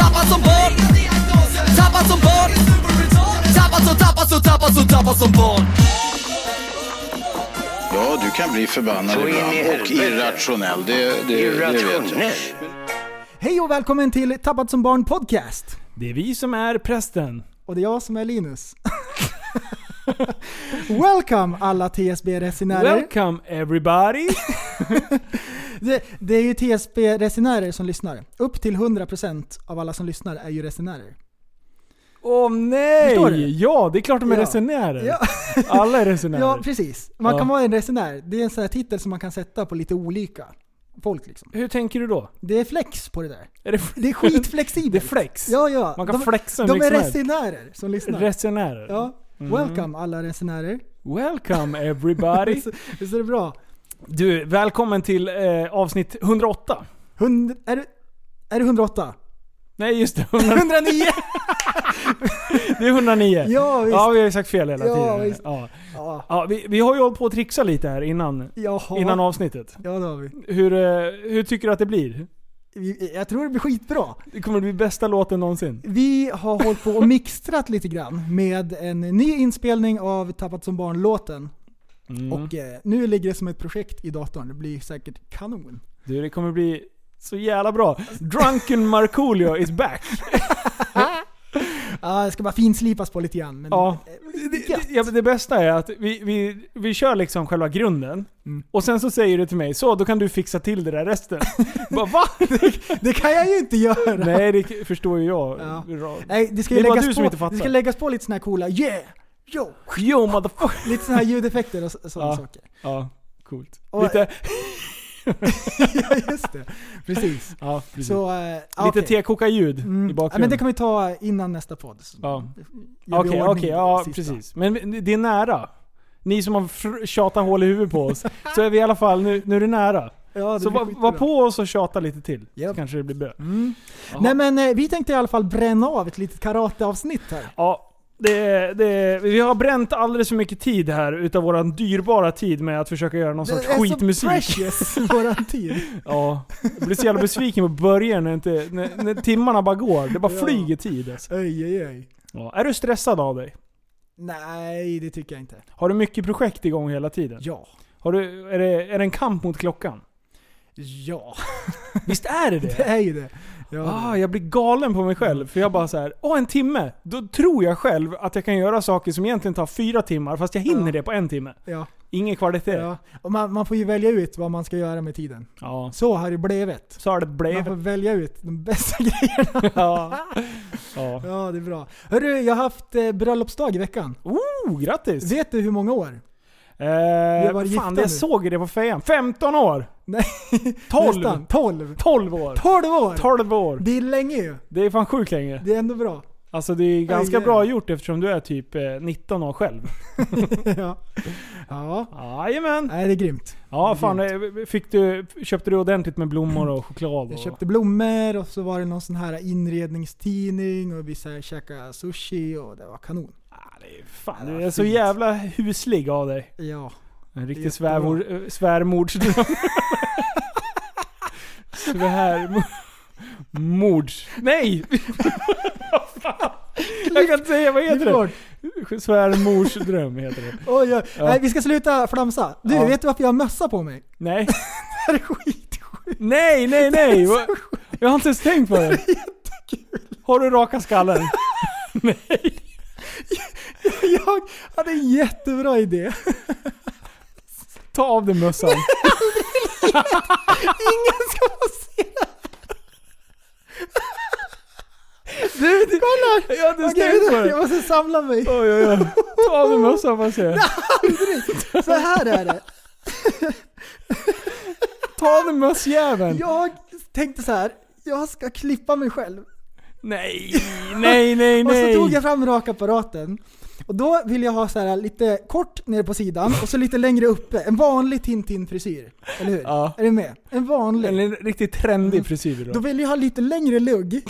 Tappad som barn Tappad som barn Tappad som, tappad som, tappad som, tappad som barn Ja, du kan bli förbannad Så in i ibland och helvete. irrationell. Det, det, det vet jag. Irrationell. Hej och välkommen till Tappad som barn podcast. Det är vi som är prästen. Och det är jag som är Linus. Welcome alla TSB-resenärer. Welcome everybody! Det, det är ju TSB-resenärer som lyssnar. Upp till 100% av alla som lyssnar är ju resenärer. Åh Förstår du? nej! Ja, det är klart de är Ja. resenärer. Ja. Alla är resenärer. Ja, precis. Man Ja. kan vara en resenär. Det är en sån här titel som man kan sätta på lite olika folk liksom. Hur tänker du då? Det är flex på det där. Är det, Det är skitflexibelt. Det är flex. Ja, ja. Man kan de, flexa hur De är mycket som helst. Mm. resenärer som lyssnar. Resenärer. ja. Welcome alla resenärer. Welcome everybody! Visst, visst är det bra? Du, välkommen till eh, avsnitt 108. Hund, är, det, är det 108? Nej just det, 100, 109! det är 109. Ja, visst. ja, vi har ju sagt fel hela Ja, tiden. visst. Ja. Ja, Ja, vi, vi har ju hållit på att trixa lite här innan, jaha. innan avsnittet. Ja, det har vi. Hur, eh, hur tycker du att det blir? Vi- Jag tror det blir skitbra. Det kommer bli bästa låten någonsin. Vi har hållit på och mixtrat lite grann med en ny inspelning av Tappat som barn-låten. Mm. Och eh, nu ligger det som ett projekt i datorn. Det blir säkert kanon. Du, det kommer bli så jävla bra. Drunken Markoolio is back. Ah, det ska bara finslipas på lite grann. Men Ja. eh, Det, det, ja, men det bästa är att vi, vi, vi kör liksom själva grunden. Mm. Och sen så säger du till mig, så då kan du fixa till det där resten. Bara, va? det kan jag ju inte göra. Nej, det förstår ju jag. Ja. Bra. Nej, det ska Det ju är bara läggas du på, som inte fattar. Det ska läggas på lite såna här coola yeah, yo, Yo motherfucker. lite såna här ljudeffekter och så- sådana Ja. saker. Ja, coolt. Och- Lite, ja, just det. Precis. ja, precis. Så, eh, Lite okej. tekoka-ljud i Mm. Ja, bakgrunden. men det kan vi ta innan nästa podd. Så Ja. gör vi Okej, ordning okej, ja sista. precis. Men det är nära. Ni som har fr- tjatat hål i huvudet på oss, så är vi i alla fall, nu, nu är det nära. Ja, det Så blir va, skitbra. var på oss och tjata lite till, så Japp. kanske det blir bra. Mm. Jaha. Nej men eh, vi tänkte i alla fall bränna av ett litet karateavsnitt här. Ja, det, det, vi har bränt alldeles för mycket tid här utav våran dyrbara tid med att försöka göra någon sorts Det är så skitmusik. precious, våran tid. Ja, jag blir så jävla besviken på början när, inte, när, när timmarna bara går. Det bara Ja. flyger tid alltså. Oj, oj, oj. ja. Är du stressad av dig? Nej, det tycker jag inte. Har du mycket projekt igång hela tiden? Ja. Har du, är, det, är det en kamp mot klockan? Ja, Visst är det det är ju det. Ja, Ah, jag blir galen på mig själv. För jag bara så här, åh en timme. Då tror jag själv att jag kan göra saker som egentligen tar fyra timmar, fast jag hinner Ja. det på en timme. ja, Ingen kvalitet. Ja. ja. Och man, man får ju välja ut vad man ska göra med tiden. Så har det blivit. Så har det Man får blivit. välja ut de bästa grejerna. ja. ja. Ja, det är bra. Hörru, jag har haft eh, bröllopsdag i veckan. Oh, grattis! Vet du hur många år? Eh, varit fan, gifta jag nu. såg det på fejan. 15 år! Nej, 12! Nästan. 12. 12 år! 12 år! 12 år! Det är länge ju. Det är fan sjukt länge. Det är ändå bra. Alltså det är ganska Aj, bra aj. gjort eftersom du är typ eh, 19 år själv. ja. ja. Jajamän! Nej, det är grymt. Ja fan, eh, fick du, köpte du ordentligt med blommor och choklad? Och... Jag köpte blommor och så var det någon sån här inredningstidning och vi så här käkade sushi och det var kanon. Ah, det är fan, Ja, du är så fint. jävla huslig av dig. Ja. En Det är riktig svärmor, svärmordsdröm. Svärmor... Mords... Nej! Vad fan? Jag kan inte säga, vad heter Klipp bort. det? Svärmorsdröm heter det. Oj, oj. Ja. Nej, vi ska sluta flamsa. Du, Ja. vet du varför jag har mössa på mig? Nej. Det här är skitsjukt. Nej, nej, nej! Vad- Jag har inte ens tänkt på det. Har du raka skallen? Jag hade en jättebra idé. Ta av dig mössan. Ingen ska få se Du, du kolla! Jag har inte ens Okej, tänkt på vänta, jag det. måste samla mig. Oj, oj, oj. Ta av dig mössan får jag se. Så här är det. Ta av dig mössjäveln. Jag tänkte så här. jag ska klippa mig själv. Nej, nej, nej, Och så nej. tog jag fram rakapparaten. Och då vill jag ha så här lite kort nere på sidan och så lite längre uppe. En vanlig Tintin-frisyr. Eller hur? Ja. Är du med? En vanlig. En liten riktigt trendig frisyr Mm. Då då. vill jag ha lite längre lugg.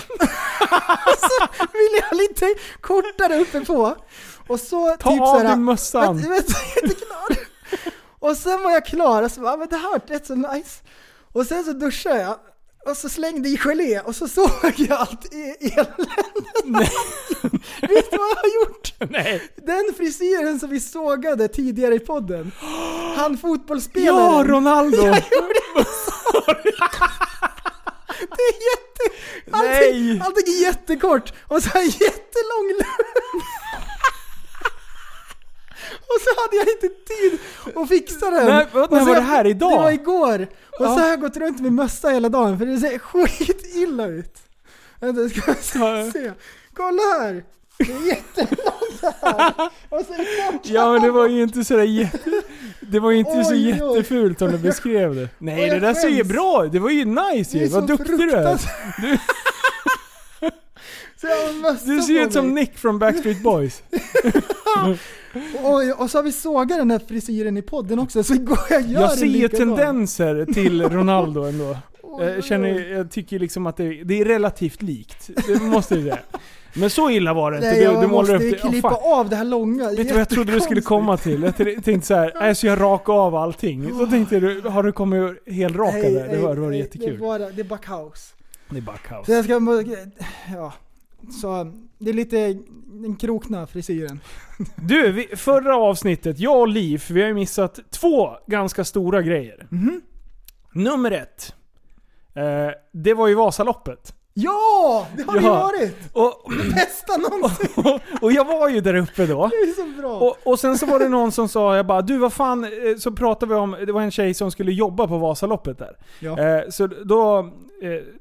så vill jag ha lite kortare uppe på. Och så Ta typ av så här, dig mössan. Vänta, vänta, jag är inte klar. Och sen var jag klar och så bara, "Ah, men det här lät så nice. Och sen så duschade jag. Och så slängde i gelé och så såg jag allt i eländet. Vet du vad jag har gjort? Nej. Den frisyren som vi sågade tidigare i podden. Han fotbollsspelaren. Ja, Ronaldo! Det är jätte... Allting, Nej. allting är jättekort och så en jättelång lugg. Och så hade jag inte tid att fixa den. Nej, vad- Och när så var jag- det här? Idag? Det var igår. Och Ja. så har jag gått runt med mössa hela dagen för det ser skitilla ut. Vänta, ska jag se- se. Kolla här! Det är jättelångt här. Och så är det kort. Ja men det var ju inte sådär jätte... Det var ju inte så Oj, oj. jättefult som du beskrev det. Oj, Nej jag det där ser ju skäms. bra ut. Det var ju nice Det är ju. Vad så duktig du är. fruktansvärt. Så jag har mössa Du ser på ut som mig. Nick från Backstreet Boys. Oj, och så har vi sågat den här frisyren i podden också, så går jag och gör Jag ser en ju likadan. tendenser till Ronaldo ändå. Oj, oj, Jag, känner, oj. jag tycker liksom att det, det är relativt likt. Det måste jag säga. Men så illa var det inte. Nej, Du, jag du målar måste upp ju det. Oh, klippa fan. av det här långa. Vet du vad jag trodde du skulle komma till? Jag tänkte så här, nej så jag rakar av allting. Oh. Så tänkte du, har du kommit helrakad där? Det var, det var Det är jättekul. bara, det är bara kaos. Det är bara kaos. Så jag ska, ja. Så det är lite den krokna frisyren. Du, vi, förra avsnittet, jag och Liv, vi har ju missat två ganska stora grejer. Mhm. Nummer ett. Eh, det var ju Vasaloppet. Ja! Det har det ju Ja. varit! Och, Bästa någonsin! och jag var ju där uppe då. Det är så bra. Och, och sen så var det någon som sa, jag bara du vad fan, eh, så pratade vi om, det var en tjej som skulle jobba på Vasaloppet där. Ja. Eh, så då, eh,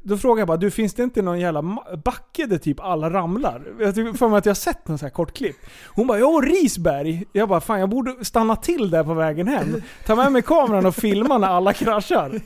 då frågade jag bara, du finns det inte någon jävla ma- backe där typ alla ramlar? Jag tycker för mig att jag har sett någon sån här kort klipp. Hon bara, ja Risberg. Jag bara, fan jag borde stanna till där på vägen hem. Ta med mig kameran och filma när alla kraschar.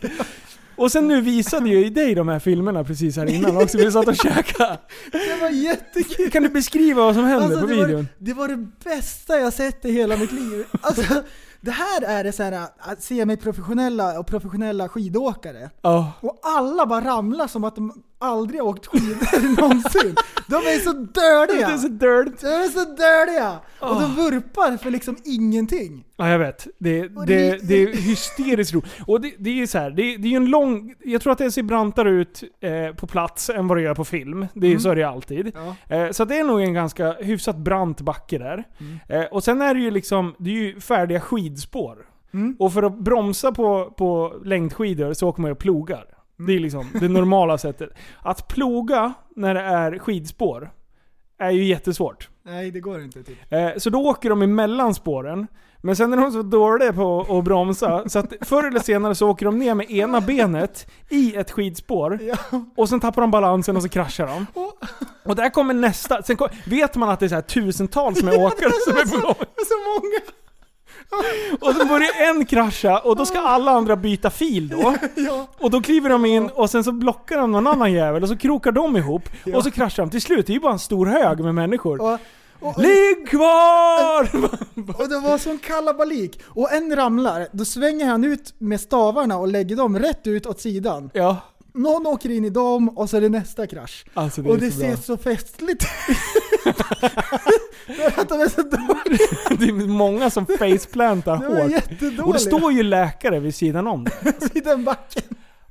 Och sen nu visade jag ju dig de här filmerna precis här innan också, vi satt och käkade. det var jättekul. Kan du beskriva vad som hände på Alltså, det, var, videon? det- det var det bästa jag sett i hela mitt liv. Alltså, det här är det så här, att se mig professionella och professionella skidåkare. Ja. Och alla bara ramlar som att de aldrig har åkt skidor någonsin. De är så dödiga! Det är så dirt. De är så dödiga! Och de vurpar för liksom ingenting. Ja, jag vet. Det, Och det, det- det är hysteriskt roligt. Och det, det är ju så här, det, det är ju en lång... Jag tror att det ser brantare ut eh, på plats än vad det gör på film. Det är, Mm. Så är det ju alltid. Ja. Eh, så att det är nog en ganska hyfsat brant backe där. Mm. Eh, och sen är det ju liksom, det är ju färdiga skidspår. Mm. Och för att bromsa på, på längdskidor så åker man ju och plogar. Mm. Det är liksom det normala sättet. Att ploga när det är skidspår är ju jättesvårt. Nej, det går inte typ. Eh, Så då åker de emellan spåren. Men sen är de så dåliga på att bromsa så att förr eller senare så åker de ner med ena benet i ett skidspår. Ja. Och sen tappar de balansen och så kraschar de. Och där kommer nästa. Sen kom, vet man att det är så här tusentals med åkare som är på gång. Så många! Och så börjar en krascha och då ska alla andra byta fil då. Ja. Och då kliver de in och sen så blockar de någon annan jävel och så krokar de ihop. Ja. Och så kraschar de. Till slut, det är ju bara en stor hög med människor. Och, och, Ligg kvar! och det var sån kalabalik. Och en ramlar, då svänger han ut med stavarna och lägger dem rätt ut åt sidan. Ja, Någon åker in i dem och så är det nästa krasch. alltså det är och det så bra. ser så festligt ut. att de är så dåliga. Det är många som faceplantar De är hårt. jättedåliga. Och det står ju läkare vid sidan om det. vid den backen.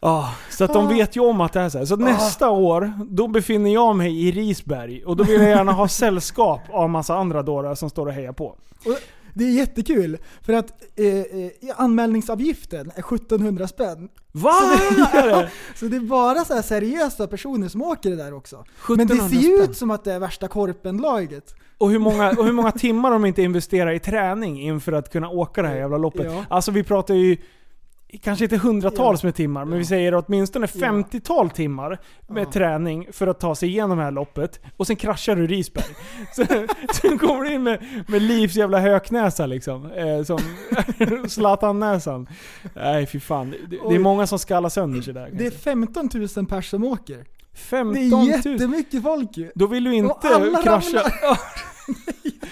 Ah, så att de Ah. vet ju om att det är så här. Så att nästa år, då befinner jag mig i Risberg. Och då vill jag gärna ha sällskap av massa andra dårar som står och hejar på. Och det är jättekul, för att eh, eh, anmälningsavgiften är 1700 spänn. Va? Är det? Så det är bara så här seriösa personer som åker det där också. Men det 1700 ser ju spänn. ut som att det är värsta korpenlaget. Och hur, många, och hur många timmar de inte investerar i träning inför att kunna åka det här jävla loppet. Ja. Alltså vi pratar ju kanske inte hundratals med timmar, men vi säger åtminstone 50-tal timmar med träning för att ta sig igenom det här loppet. Och sen kraschar du i Risberg. sen, sen kommer du in med, med Livs jävla höknäsa liksom. Eh, som Zlatan-näsan. Nej fy fan. Det, det Oj. är många som skallar sönder sig där. Det är kanske. 15 000 pers som åker. Det 15 är 000. jättemycket folk ju. Då vill du Och inte alla krascha. ramlar.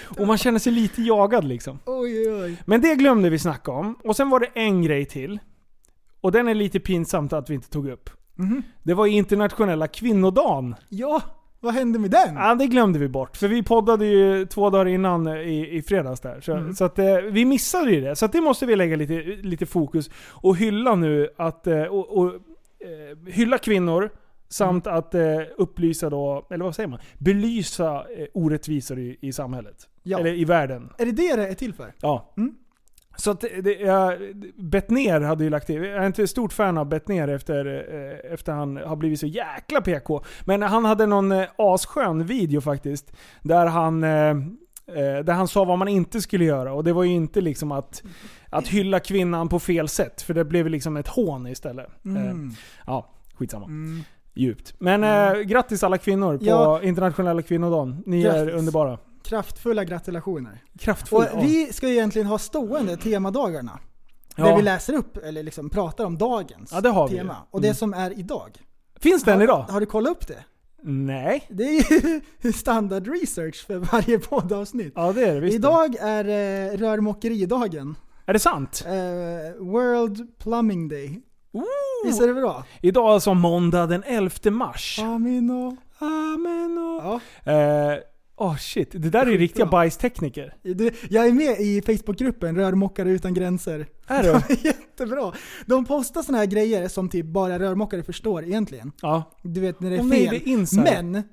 och man känner sig lite jagad liksom. Oj, oj, oj. Men det glömde vi snacka om. Och sen var det en grej till. Och den är lite pinsamt att vi inte tog upp. Mhm. Det var ju internationella kvinnodagen. Ja, vad hände med den? Ja, det glömde vi bort. För vi poddade ju två dagar innan eh, i, i fredags där. Så, så att, eh, vi missade ju det. Så att det måste vi lägga lite, lite fokus och hylla nu att... Eh, och, och, eh, hylla kvinnor samt att eh, upplysa då, eller vad säger man? Belysa eh, orättvisor i, i samhället. Ja. Eller i världen. Är det det det är till för? Ja. Mm. Så att det- det, jag, Bettner hade ju lagt till. Jag är inte stort fan av Bettner efter, eh, efter han har blivit så jäkla PK. Men han hade någon eh, asskön video faktiskt. Där han, eh, eh, där han sa vad man inte skulle göra. Och det var ju inte liksom att, att hylla kvinnan på fel sätt. För det blev liksom ett hån istället. Mm. Eh, ja, skitsamma. Djupt. Men eh, grattis alla kvinnor på Mm. Ja. internationella kvinnodagen. Ni är Grattis. underbara. Kraftfulla gratulationer. Och Kraftfulla. ja. vi ska ju egentligen ha stående temadagarna. Där Ja. vi läser upp, eller liksom pratar om dagens Ja, det har vi tema. ju. Mm. Och det som är idag. Finns den idag? Har du kollat upp det? Nej. Det är ju standard research för varje poddavsnitt. Ja det är det visst. Idag är eh, rörmokeridagen. Är det sant? Eh, World Plumbing Day. Visst Ooh. är det bra? Idag alltså måndag den 11 mars. Amino. Amen och... Ja, Eh, Åh shit, det där är ju riktiga bajstekniker. det, jag är med i Facebookgruppen Rörmokare utan gränser. Är du? Jättebra! De postar såna här grejer som typ bara rörmokare förstår egentligen. Ja. Du vet när det är Åh, fel. nej, det är insider. men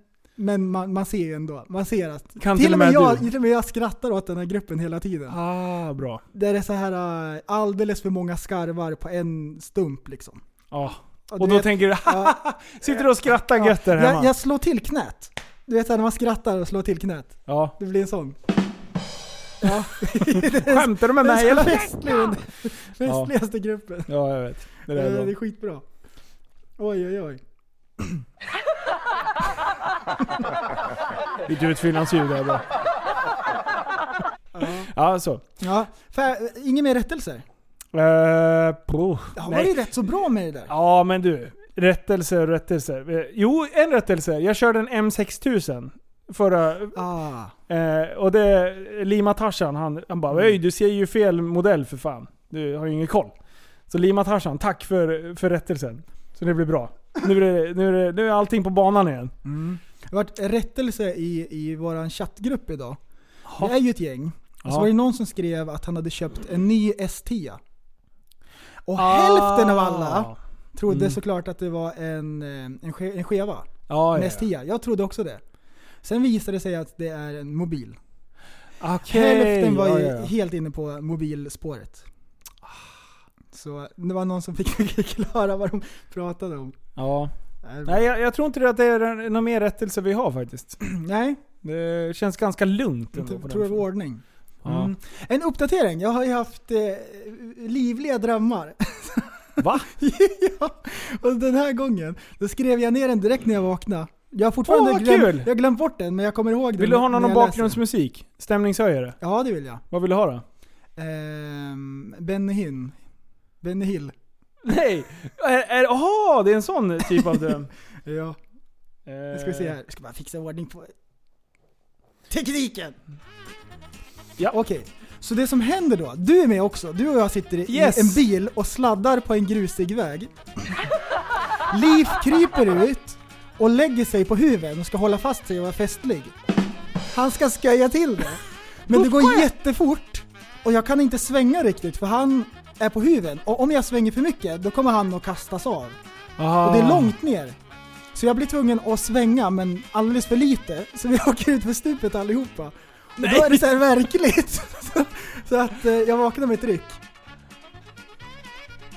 men man, man ser ju ändå. Man ser att... Kan till, till och med och med jag, du. till och med jag skrattar åt den här gruppen hela tiden. Ah, bra. Där det är så här äh, alldeles för många skarvar på en stump liksom. Ja. Och Och, du då vet- tänker du Ja. sitter du och skrattar gött där hemma? jag, jag slår till knät. Du vet såhär när man skrattar och slår till knät. Ja. Det blir en sån. Skämtar du med Den mig så eller? festliga- festligaste gruppen. Ja, jag vet. Det Det där är, Eh, det är är bra. skitbra. Oj oj oj. Ditt utfyllnadsljud är bra. Ja, så. Ja, för, eh, inga mer rättelser? Eh, puh. Jag har Nej. varit rätt så bra med det där. Ja men du, rättelse och rättelse. Eh, Jo, en rättelse. Jag körde en M6000 förra... Ah. Eh, och det... Lima Tarzan, han, han bara Öj, du ser ju fel modell för fan. Du har ju ingen koll. Så Lima Tarzan, tack för, för rättelsen. Så det blir bra. Nu är, det, nu, är det, nu är allting på banan igen. Det har varit rättelse i, i vår chattgrupp idag. Det är ju ett gäng. Och så Ja. var det någon som skrev att han hade köpt en ny S10. Och Ah. Mm. hälften av alla trodde såklart att det var en, eh, en, ske, en skeva. Ja, En ja. S10. Jag trodde också det. Sen visade det sig att det är en mobil. Okej. Hälften var ja, ju ja, ja. helt inne på mobilspåret. Ah, Så det var någon som fick förklara vad de pratade om. Äh, ja. Nej, Nej, jag, jag tror inte det att det är någon mer rättelse vi har faktiskt. Nej, Det känns ganska lugnt jag ändå. tror på den det var fronten. ordning. Ja. Mm. En uppdatering. Jag har ju haft eh, livliga drömmar. Va? ja. Och den här gången, då skrev jag ner den direkt när jag vaknade. Jag har fortfarande Åh, vad glömt, kul! jag har glömt bort den, men jag kommer ihåg den Vill du ha när någon om jag läser den. bakgrundsmusik? Stämningshöjare? Ja, det vill jag. Vad vill du ha då? Ehm, Benny Hinn. Benny Hill. Nej! Är- är- Jaha, det är en sån typ av dröm. Ja, nu Eh, ska vi se här. Jag ska bara fixa ordning på... Tekniken! Ja. Okej, så det som händer då, du är med också. Du och jag sitter i Yes. en bil och sladdar på en grusig väg. Liv kryper ut och lägger sig på huven och ska hålla fast sig och vara festlig. Han ska sköja till det. Men det går jättefort och jag kan inte svänga riktigt för han är på huven. Och om jag svänger för mycket då kommer han att kastas av. Aha. Och det är långt ner. Så jag blir tvungen att svänga men alldeles för lite. Så vi åker ut för stupet allihopa. Och då är det så här verkligt. Så- så att eh, jag vaknar med ett ryck.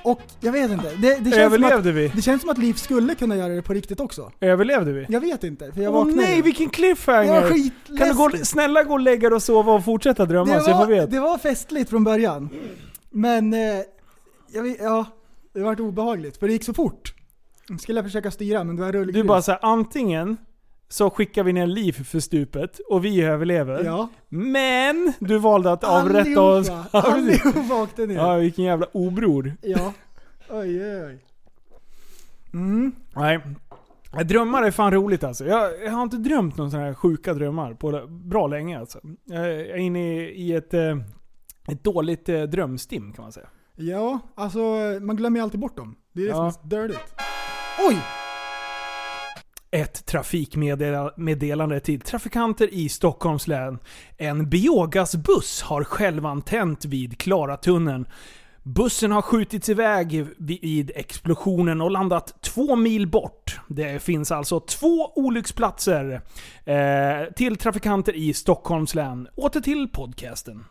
Och jag vet inte. Det, det, känns som att, Överlevde vi? det känns som att Liv skulle kunna göra det på riktigt också. Överlevde vi? Jag vet inte, för jag Åh vaknade nej, ju. vilken Det var cliffhanger! skitläskigt. kan du gå, snälla gå och lägga dig och sova och fortsätta drömma det, så jag får var, veta? det var festligt från början. Men, eh, jag vet, ja. Det vart obehagligt, för det gick så fort. Skulle jag försöka styra, men det var rullgrus. Du bara såhär, antingen så skickar vi ner liv för stupet och vi överlever. Ja. Men du valde att avrätta oss. Allihopa- Allihopa åkte ner. Ja, Ja. vilken jävla obror. Oj, oj, oj. Mm. Nej. Drömmar är fan roligt alltså. Jag, jag har inte drömt någon sån här sjuka drömmar på bra länge alltså. Jag är inne i, i ett, eh, ett dåligt eh, drömstim kan man säga. Ja, alltså man glömmer ju alltid bort dem. Det är det som Ja. är dirtigt. Oj! Ett trafikmeddelande till trafikanter i Stockholms län. En biogasbuss har självantänt vid Klaratunneln. Bussen har skjutits iväg vid explosionen och landat två mil bort. Det finns alltså två olycksplatser eh, till trafikanter i Stockholms län. Åter till podcasten.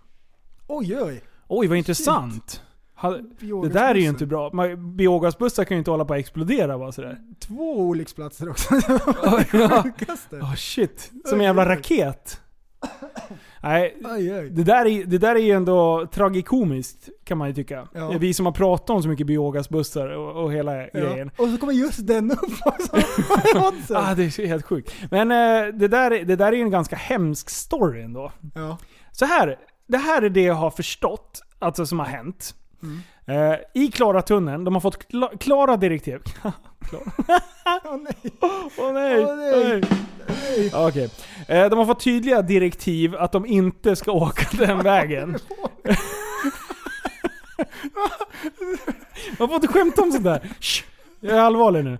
Oj, oj. Oj, vad intressant. Ha, det Biogasbussen. där är ju inte bra. Man- Biogasbussar kan ju inte hålla på att explodera bara sådär. Två olycksplatser också. Det Ja. sjukaste. Ah shit. Som en jävla raket. Nej, Aj, aj. det där, är, det där är ju ändå tragikomiskt kan man ju tycka. Ja. Det är Vi som har pratat om så mycket biogasbussar och, och hela grejen. Och så kommer just den upp också. Vad är oddsen? Ah, det är helt sjukt. Men eh, det, där, är- det där är ju en ganska hemsk story ändå. Ja. Så här, det här är det jag har förstått, alltså som har hänt. Eh, I Klaratunneln, de har fått kla- klara direktiv. Åh nej. Åh nej! Åh, nej. nej. Okej. Eh, De har fått tydliga direktiv att de inte ska åka den vägen. Man får inte skämta om sånt där. Shh. Jag är allvarlig nu.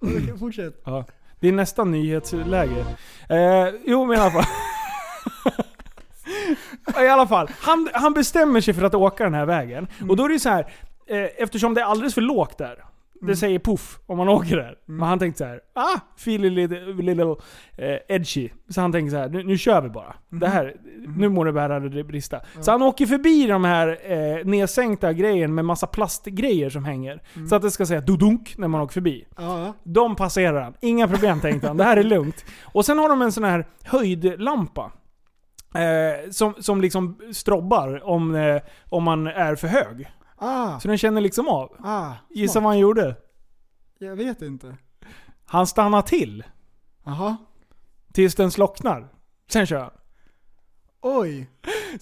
Okej, Fortsätt. Ja. typ. Det är nästan nyhetsläge. Eh, jo men i alla fall. I alla fall, han, han bestämmer sig för att åka den här vägen. Och då är det ju så här, eh, eftersom det är alldeles för lågt där. Det säger puff om man åker där. Men han tänkte så här, ah, feel a little, little eh, edgy. Så han tänker så här, nu, nu kör vi bara. Det här, nu må det bära eller det brista. Så han åker förbi de här eh, nedsänkta grejen med massa plastgrejer som hänger. Så att det ska säga dodunk när man åker förbi. Ja. De passerar han. Inga problem tänkte han. Det här är lugnt. Och sen har de en sån här höjdlampa. Eh, som, som liksom strobbar om, eh, om man är för hög. Ah. Så den känner liksom av. Ah. Gissa smart. vad han gjorde? Jag vet inte. Han stannar till. Jaha. Tills den slocknar. Sen kör han. Oj.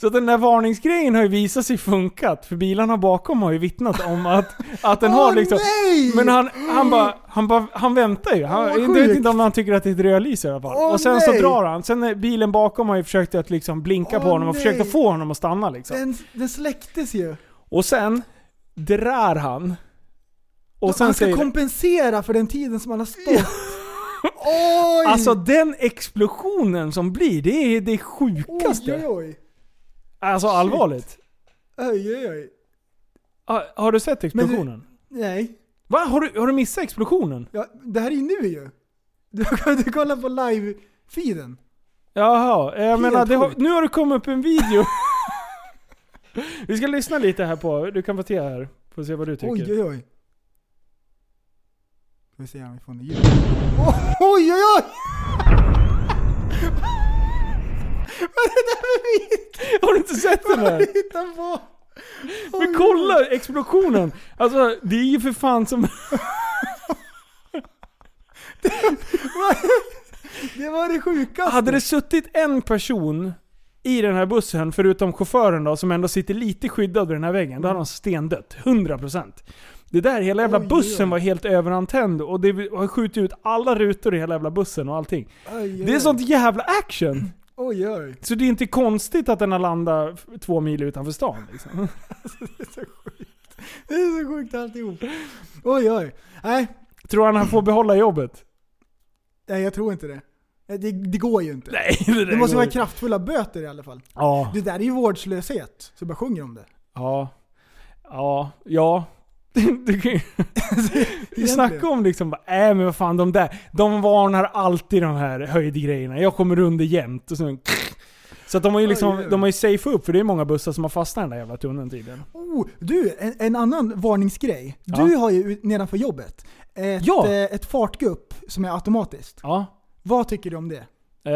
Så den där varningsgrejen har ju visat sig funkat. För bilarna bakom har ju vittnat om att, att den har Åh, liksom... nej! Men han, han, bara, han, bara, han väntar ju. Han, Åh, vad jag vet inte sjukt. om han tycker att det är ett rödlys i alla fall. Åh, och sen så nej. drar han. Sen är bilen bakom har ju försökt att liksom blinka på Åh, honom och nej. försökt att få honom att stanna liksom. Den, den släcktes ju. Och sen drar han. Och sen han ska säger... kompensera för den tiden som han har stått. Oj! Alltså den explosionen som blir, det är det sjukaste. Oj, oj, Alltså allvarligt. oj. oj, oj. Har, har du sett du- explosionen? Nej. Va? Har du, har du missat explosionen? Ja, det här är ju nu ju. Du, du kollar på live-feeden. Jaha, jag menar, det har, sjukt. nu har det kommit upp en video. Vi ska lyssna lite här på, du kan få se här. Får se vad du tycker. Oj, oj, oj. Ska vi se om vi får något ljud. Oj, oj, oj! Vad är det där för vid? Har du inte sett den Vad har här? du hittat på? Oj, Men kolla explosionen! Alltså det är ju för fan som... Det var det sjukaste. Hade det suttit en person i den här bussen, förutom chauffören då, som ändå sitter lite skyddad vid den här väggen, då hade de stendött. 100%. Det där, hela jävla Mm. Oj, bussen oj. var helt överantänd och det har skjutit ut alla rutor i hela jävla bussen och allting. Oj, oj. Det är sånt jävla action! Oj, oj. Så det är inte konstigt att den har landat f- två mil utanför stan liksom. Det är så sjukt alltihop. Oj, oj. Nej, Tror han han får behålla jobbet? nej jag tror inte det. Nej, Det, det går ju inte. Nej, det, Det måste vara kraftfulla böter i alla fall. Ja. Det där är ju vårdslöshet, så bara sjunger om det. Ja. Ja. Ja. Du kan ju Egentligen. snacka om liksom, bara, äh men vad fan de där. De varnar alltid de här höjdgrejerna. Jag kommer under jämt. Och sen, så att de har ju liksom, Oj, oj. de har ju safe upp för det är många bussar som har fastnat i den där jävla tunneln tydligen. Oh, du, en, en annan varningsgrej. Du Ja. har ju ut- nedanför jobbet ett, Ja. eh, ett fartgupp som är automatiskt. Ja. Vad tycker du om det? Eh,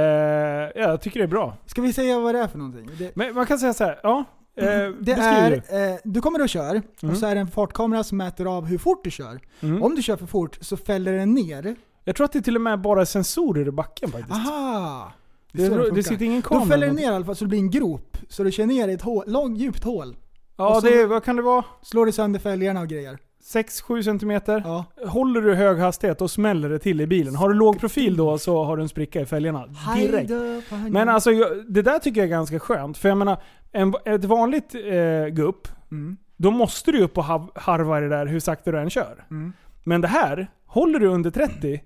ja, jag tycker det är bra. Ska vi säga vad det är för någonting? Det, Men man kan säga så här, ja. Eh, Mm. Det beskriv du. är, eh, du kommer och kör, Mm. och så är det en fartkamera som mäter av hur fort du kör. Mm. Om du kör för fort så fäller den ner. Jag tror att det till och med bara är sensorer i backen faktiskt. Aha! är det, så det, funkar. sitter ingen kamera. Då fäller den eller ner i alla fall så det blir en grop. Så du kör ner i ett hål, långt, djupt hål. något. Ja, och så- det, är- vad kan det vara? Slår du sönder fälgarna och grejer. 6-7 centimeter. Ja. Håller du hög hastighet och smäller det till i bilen. Har du låg profil då så har du en spricka i fälgarna. Direkt. Men alltså jag- det där tycker jag är ganska skönt. För jag menar, en, ett vanligt eh, gupp, Mm. då måste du upp och hav- harva det där hur sakta du än kör. Mm. Men det här, håller du under 30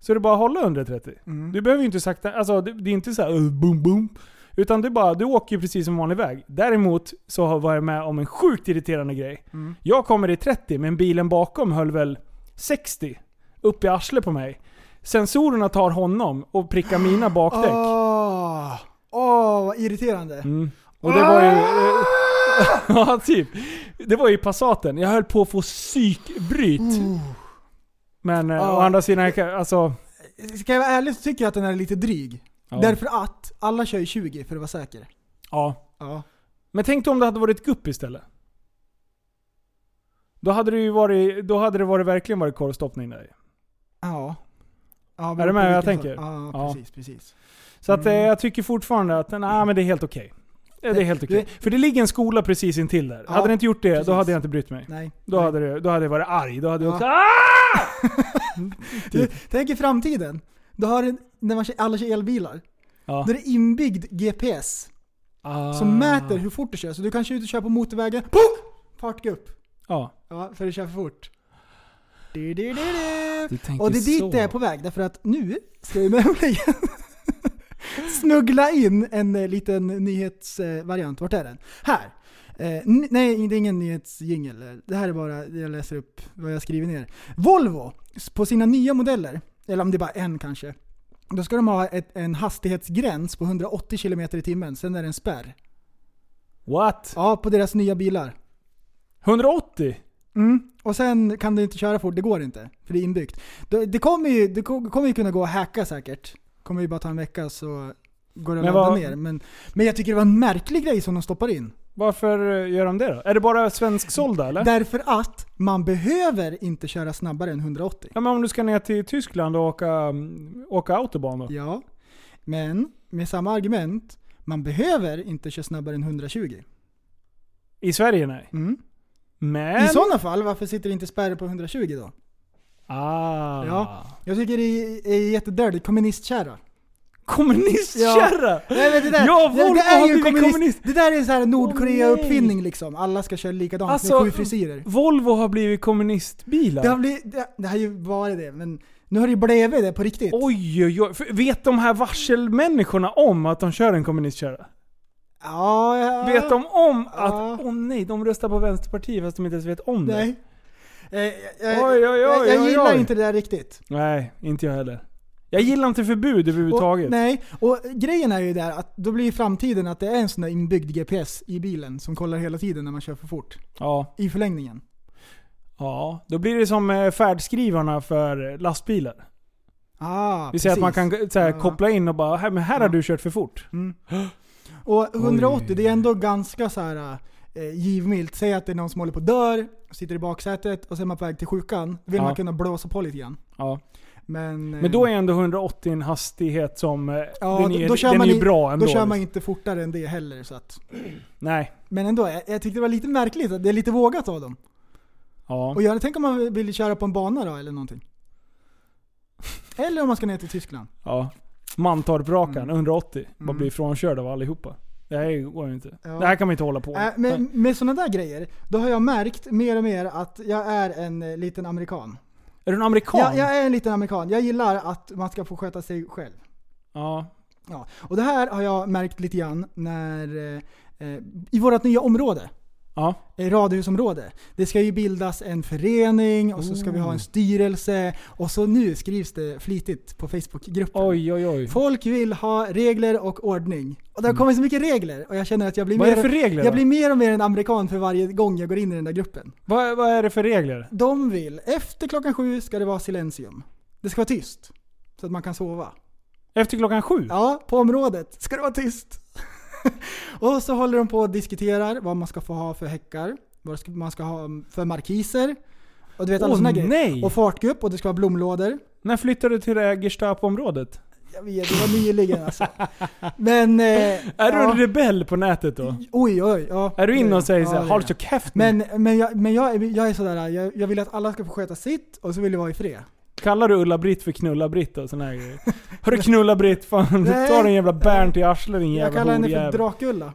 så är det bara att hålla under 30. Mm. Du behöver ju inte sakta, alltså det, det är inte så här uh, boom boom. Utan det är bara, du åker ju precis som vanlig väg. Däremot så har jag varit med om en sjukt irriterande grej. Mm. Jag kommer i 30 men bilen bakom höll väl 60 upp i arslet på mig. Sensorerna tar honom och prickar mina bakdäck. Ah. Åh, åh, vad irriterande. Mm. Och det var ju... eh, ja, typ. Det var ju Passaten. Jag höll på att få psykbryt. Men eh, å Ja. andra sidan, jag kan- alltså... Ska jag vara ärlig så tycker jag att den är lite dryg. Ja. Därför att alla kör ju 20 för att vara säker. ja. Ja. Men tänk dig om det hade varit gupp istället. Då hade det ju varit, då hade det varit, verkligen varit korvstoppning där i. Ja. ja Är du med vad jag vilken tänker? sort- Ja, Ja. precis, precis. Så att, eh, Mm. jag tycker fortfarande att nej, men det är helt okej. Eh, Det är helt okej. För det ligger en skola precis intill där. Ja, hade det inte gjort det, då precis. hade jag inte brytt mig. Nej. Då hade, det, då hade jag varit arg. Då hade jag Ja. också... Ah! Du, typ- tänk i framtiden. Då har du, när man kör, alla kör elbilar. Ja. Ah. Då är det inbyggd GPS som mäter hur fort du kör. Så du kan köra ut och köra på motorvägen. Puff! Fart upp. Ja. Ja, för du kör för fort. Du, du, du, du. Du tänker Och det är dit så. det är på väg, därför att nu ska vi nämligen snuggla in en eh, liten nyhetsvariant. Vart är den? Här! Eh, n- nej, det är ingen nyhetsjingel. Eh, Det här är bara, jag läser upp vad jag skriver ner. Volvo, s- på sina nya modeller, eller om det är bara en kanske, då ska de ha ett, en hastighetsgräns på 180 km i timmen, sen är det en spärr. What? Ja, på deras nya bilar. 180? Mm. Och sen kan du inte köra fort, det går inte. För det är inbyggt. Det, det, kommer, ju, det ko- kommer ju kunna gå att hacka säkert. kommer ju bara ta en vecka så går det att Men ladda vad- ner. Men, men jag tycker det var en märklig grej som de stoppar in. Varför eh, gör de det då? Är det bara svensksålda eller? Därför att man behöver inte köra snabbare än 180. Ja, men om du ska ner till Tyskland och åka, mm, åka autobahn då? Ja. Men med samma argument, man behöver inte köra snabbare än 120. I Sverige nej. Mm. Men... I sådana fall, varför sitter det inte spärr på 120 då? Ah. Ja. Jag tycker det är, är jättedördigt, kommunistkärra. Kommunistkärra! Nej, men det där, Ja, det, Volvo det är har ju en blivit kommunist, kommunist. Det där är en sån här Nordkorea-uppfinning nej. liksom. Alla ska köra likadant Alltså, med sju frisyrer. Volvo har blivit kommunistbilar. Det har, blivit, det, det har ju varit det, men nu har det ju blivit det på riktigt. Oj, oj, oj. För Vet de här varselmänniskorna om att de kör en kommunistkärra? Ja, ja. Vet de om att... Ja. Åh nej, de röstar på Vänsterpartiet fast de inte ens vet om det? Nej. Eh, jag, jag, Oj, oj, oj, jag, jag oj, gillar oj. inte det där riktigt. Nej, inte jag heller. Jag gillar inte förbud överhuvudtaget. Och, nej, och grejen är ju där att då blir ju framtiden att det är en sån där inbyggd GPS i bilen som kollar hela tiden när man kör för fort. Ja, I förlängningen. ja, då blir det som eh, färdskrivarna för eh, lastbilar. Ah, Vi säger att man precis. kan eh, så här, Ja. Mm. koppla in och bara, här, men här har du kört för fort. Och 180, Oj. det är ändå ganska så här eh, givmilt. Säg att det är någon som håller på att dör, sitter i baksätet och sen är man på väg till sjukan. Vill Ja. man kunna blåsa på lite grann. Ja. Men, eh, Men då är ändå 180 en hastighet som, eh, Ja, den då- är, då kör den man är ju i- bra ändå. då kör man liksom. inte fortare än det heller. Så att, Nej. men ändå, jag, jag tyckte det var lite märkligt. att Det är lite vågat av dem. Ja. Och jag tänker om man vill köra på en bana då eller någonting. Eller om man ska ner till Tyskland. ja. Mantorp-rakan, Mm. 180. Bara Mm. blir frånkörd av allihopa. Det här går ju inte. Ja. Det här kan man inte hålla på Äh, med. men med sådana där grejer, då har jag märkt mer och mer att jag är en eh, liten amerikan. Är du en amerikan? Jag, jag är en liten amerikan. Jag gillar att man ska få sköta sig själv. Ja. Ja, och det här har jag märkt lite grann när, eh, eh, i vårt nya område, Ja. eh, radhusområde. Det ska ju bildas en förening och så ska vi ha en Oh. styrelse och så nu skrivs det flitigt på Facebookgruppen. Oj, oj, oj. Folk vill ha regler och ordning. Och det har kommit så mycket regler och jag känner att jag blir, Mm. Vad är mer det för och, regler jag då? blir mer och mer en amerikan för varje gång jag går in i den där gruppen. Vad, vad är det för regler? De vill, efter klockan sju ska det vara silensium. Det ska vara tyst. Så att man kan sova. Efter klockan sju? Ja, på området ska det vara tyst. och så håller de på och diskuterar vad man ska få ha för häckar, vad ska- man ska ha för markiser. Och du vet alla Åh, såna grejer. nej! Och fartgupp och det ska vara blomlådor. När flyttade du till det här Gestapo-området? Jag vet, det var nyligen alltså. Men... Eh, Är du ja. en rebell på nätet då? Oj, oj, ja. Är du inne och säger Ja, så här, det har är du så käft men, Men, men, jag, men jag, är- jag är sådär, jag, jag vill att alla ska få sköta sitt och så vill jag vara i fred. Kallar du Ulla-Britt för Knulla-Britt och såna här grejer? Hörru Knulla-Britt, fan Nej. ta din jävla Bernt i arslet din Jag jävla kallar henne för horjävel. Drakulla.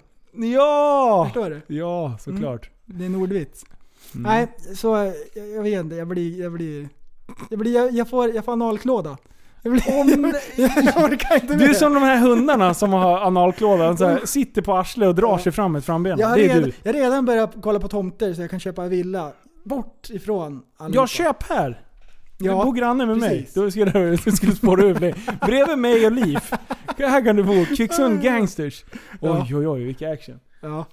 Ja! Förstår du? Ja, såklart. Det är en ordvits. Mm. Nej, så eh, jag, jag vet inte, jag blir, jag blir... Jag, blir, jag, jag får, jag får analklåda. Jag, blir, jag, orkar inte Du mer. är som de här hundarna som har analklådan, så här, sitter på arslet och drar sig fram med frambenet. jag har Det är redan, du. jag har redan börjat kolla på tomter så jag kan köpa en villa. Bort ifrån allihopa. Jag köp här! Ja, du bor granne med precis. mig. Då skulle du, du skulle spåra ur dig. Bredvid mig och Liv. Här kan du bo. Kvicksund Gangsters. Ja. Oj, oj, oj, vilken action. Ja.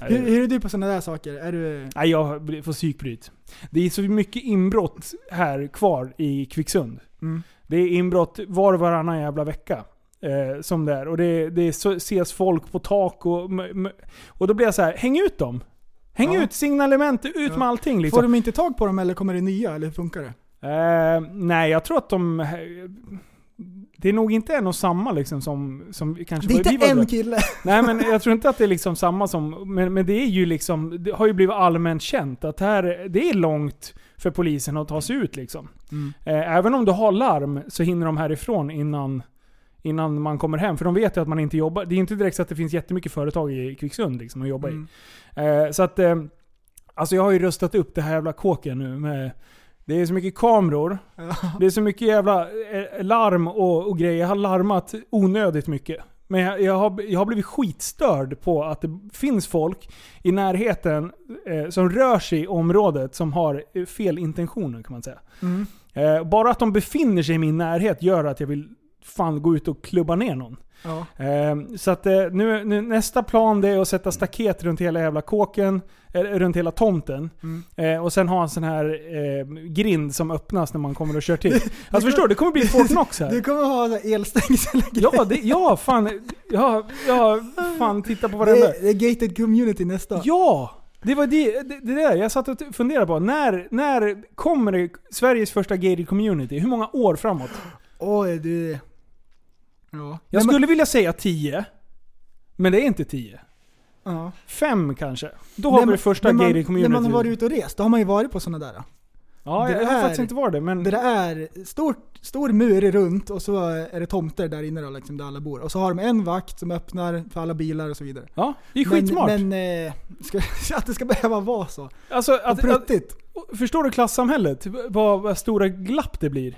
Nej, Hur, hur är du på sådana där saker? Är du... Nej, jag blir- får psykbryt. Det är så mycket inbrott här kvar i Kvicksund. Mm. Det är inbrott var och varannan jävla vecka. Eh, som det är. Och det, det är så, ses folk på tak och... m- m- Och då blir jag så här, häng ut dem! Häng Ja. ut signalement, ut Ja. med allting liksom. Får de inte tag på dem eller kommer det nya eller hur funkar det? Eh, nej, jag tror att de... Det är nog inte en och samma liksom som, som vi kanske Det är vi inte var- en kille. Nej men jag tror inte att det är liksom samma som... Men, men det är ju liksom... Det har ju blivit allmänt känt att här, det är långt för polisen att ta sig ut liksom. Mm. Eh, även om du har larm så hinner de härifrån innan, innan man kommer hem. För de vet ju att man inte jobbar. Det är inte direkt så att det finns jättemycket företag i Kvicksund liksom att jobba i. Mm. Eh, så att, eh, alltså jag har ju rustat upp det här jävla kåken nu med... Det är så mycket kameror, det är så mycket jävla eh, larm och, och grejer. Jag har larmat onödigt mycket. Men jag, jag, har, jag har blivit skitstörd på att det finns folk i närheten eh, som rör sig i området som har eh, fel intentioner kan man säga. Mm. Eh, bara att de befinner sig i min närhet gör att jag vill fan gå ut och klubba ner någon. Ja. Ehm, Så att eh, nu, nu, nästa plan det är att sätta staket runt hela jävla kåken, eh, runt hela tomten. Mm. Eh, och sen ha en sån här eh, grind som öppnas när man kommer och kör till. Alltså förstår du? Det kommer bli Fort Knox här. Mm. Du kommer ha så här elstängsel Ja, det, ja fan. Ja, ja, fan titta på det, varenda. är- det är gated community nästa. Ja! Det var det, det, det där jag satt och t- funderade på. När, när kommer det Sveriges första gated community? Hur många år framåt? Oj, du... Ja. Jag Nej, skulle vilja säga 10. Men det är inte 10. men, ja. Fem kanske. Då har Nej, vi men- det första när man- gated community. När man har varit ute och rest, då har man ju varit på sådana där. Ja, Det jag, jag har där- faktiskt inte varit det, men... Det där är stort, stor mur runt och så är det tomter där inne då, liksom, där alla bor. Och så har de en vakt som öppnar för alla bilar och så vidare. ja, det är skitsmart. Men, men eh, ska, att det ska behöva vara så. alltså, Och att, att, pruttigt. förstår du klassamhället? Vad, vad stora glapp det blir.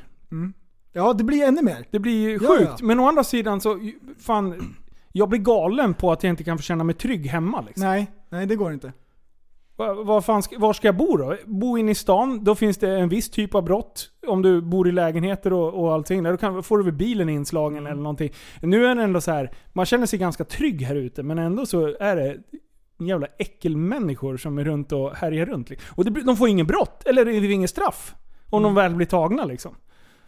Ja, det blir ännu mer. Det blir ju Ja, sjukt. ja. Men å andra sidan så, fan... Jag blir galen på att jag inte kan få känna mig trygg hemma liksom. Nej, nej det går inte. Va, vad fan ska, var ska jag bo då? Bo inne i stan, då finns det en viss typ av brott. Om du bor i lägenheter och, och allting. Där, då kan, får du väl bilen inslagen eller någonting. Nu är det ändå så här, man känner sig ganska trygg här ute, men ändå så är det jävla äckelmänniskor som är runt och härjar runt. Och det, blir- de får ingen brott, eller det blir inget straff. Om de väl blir tagna liksom.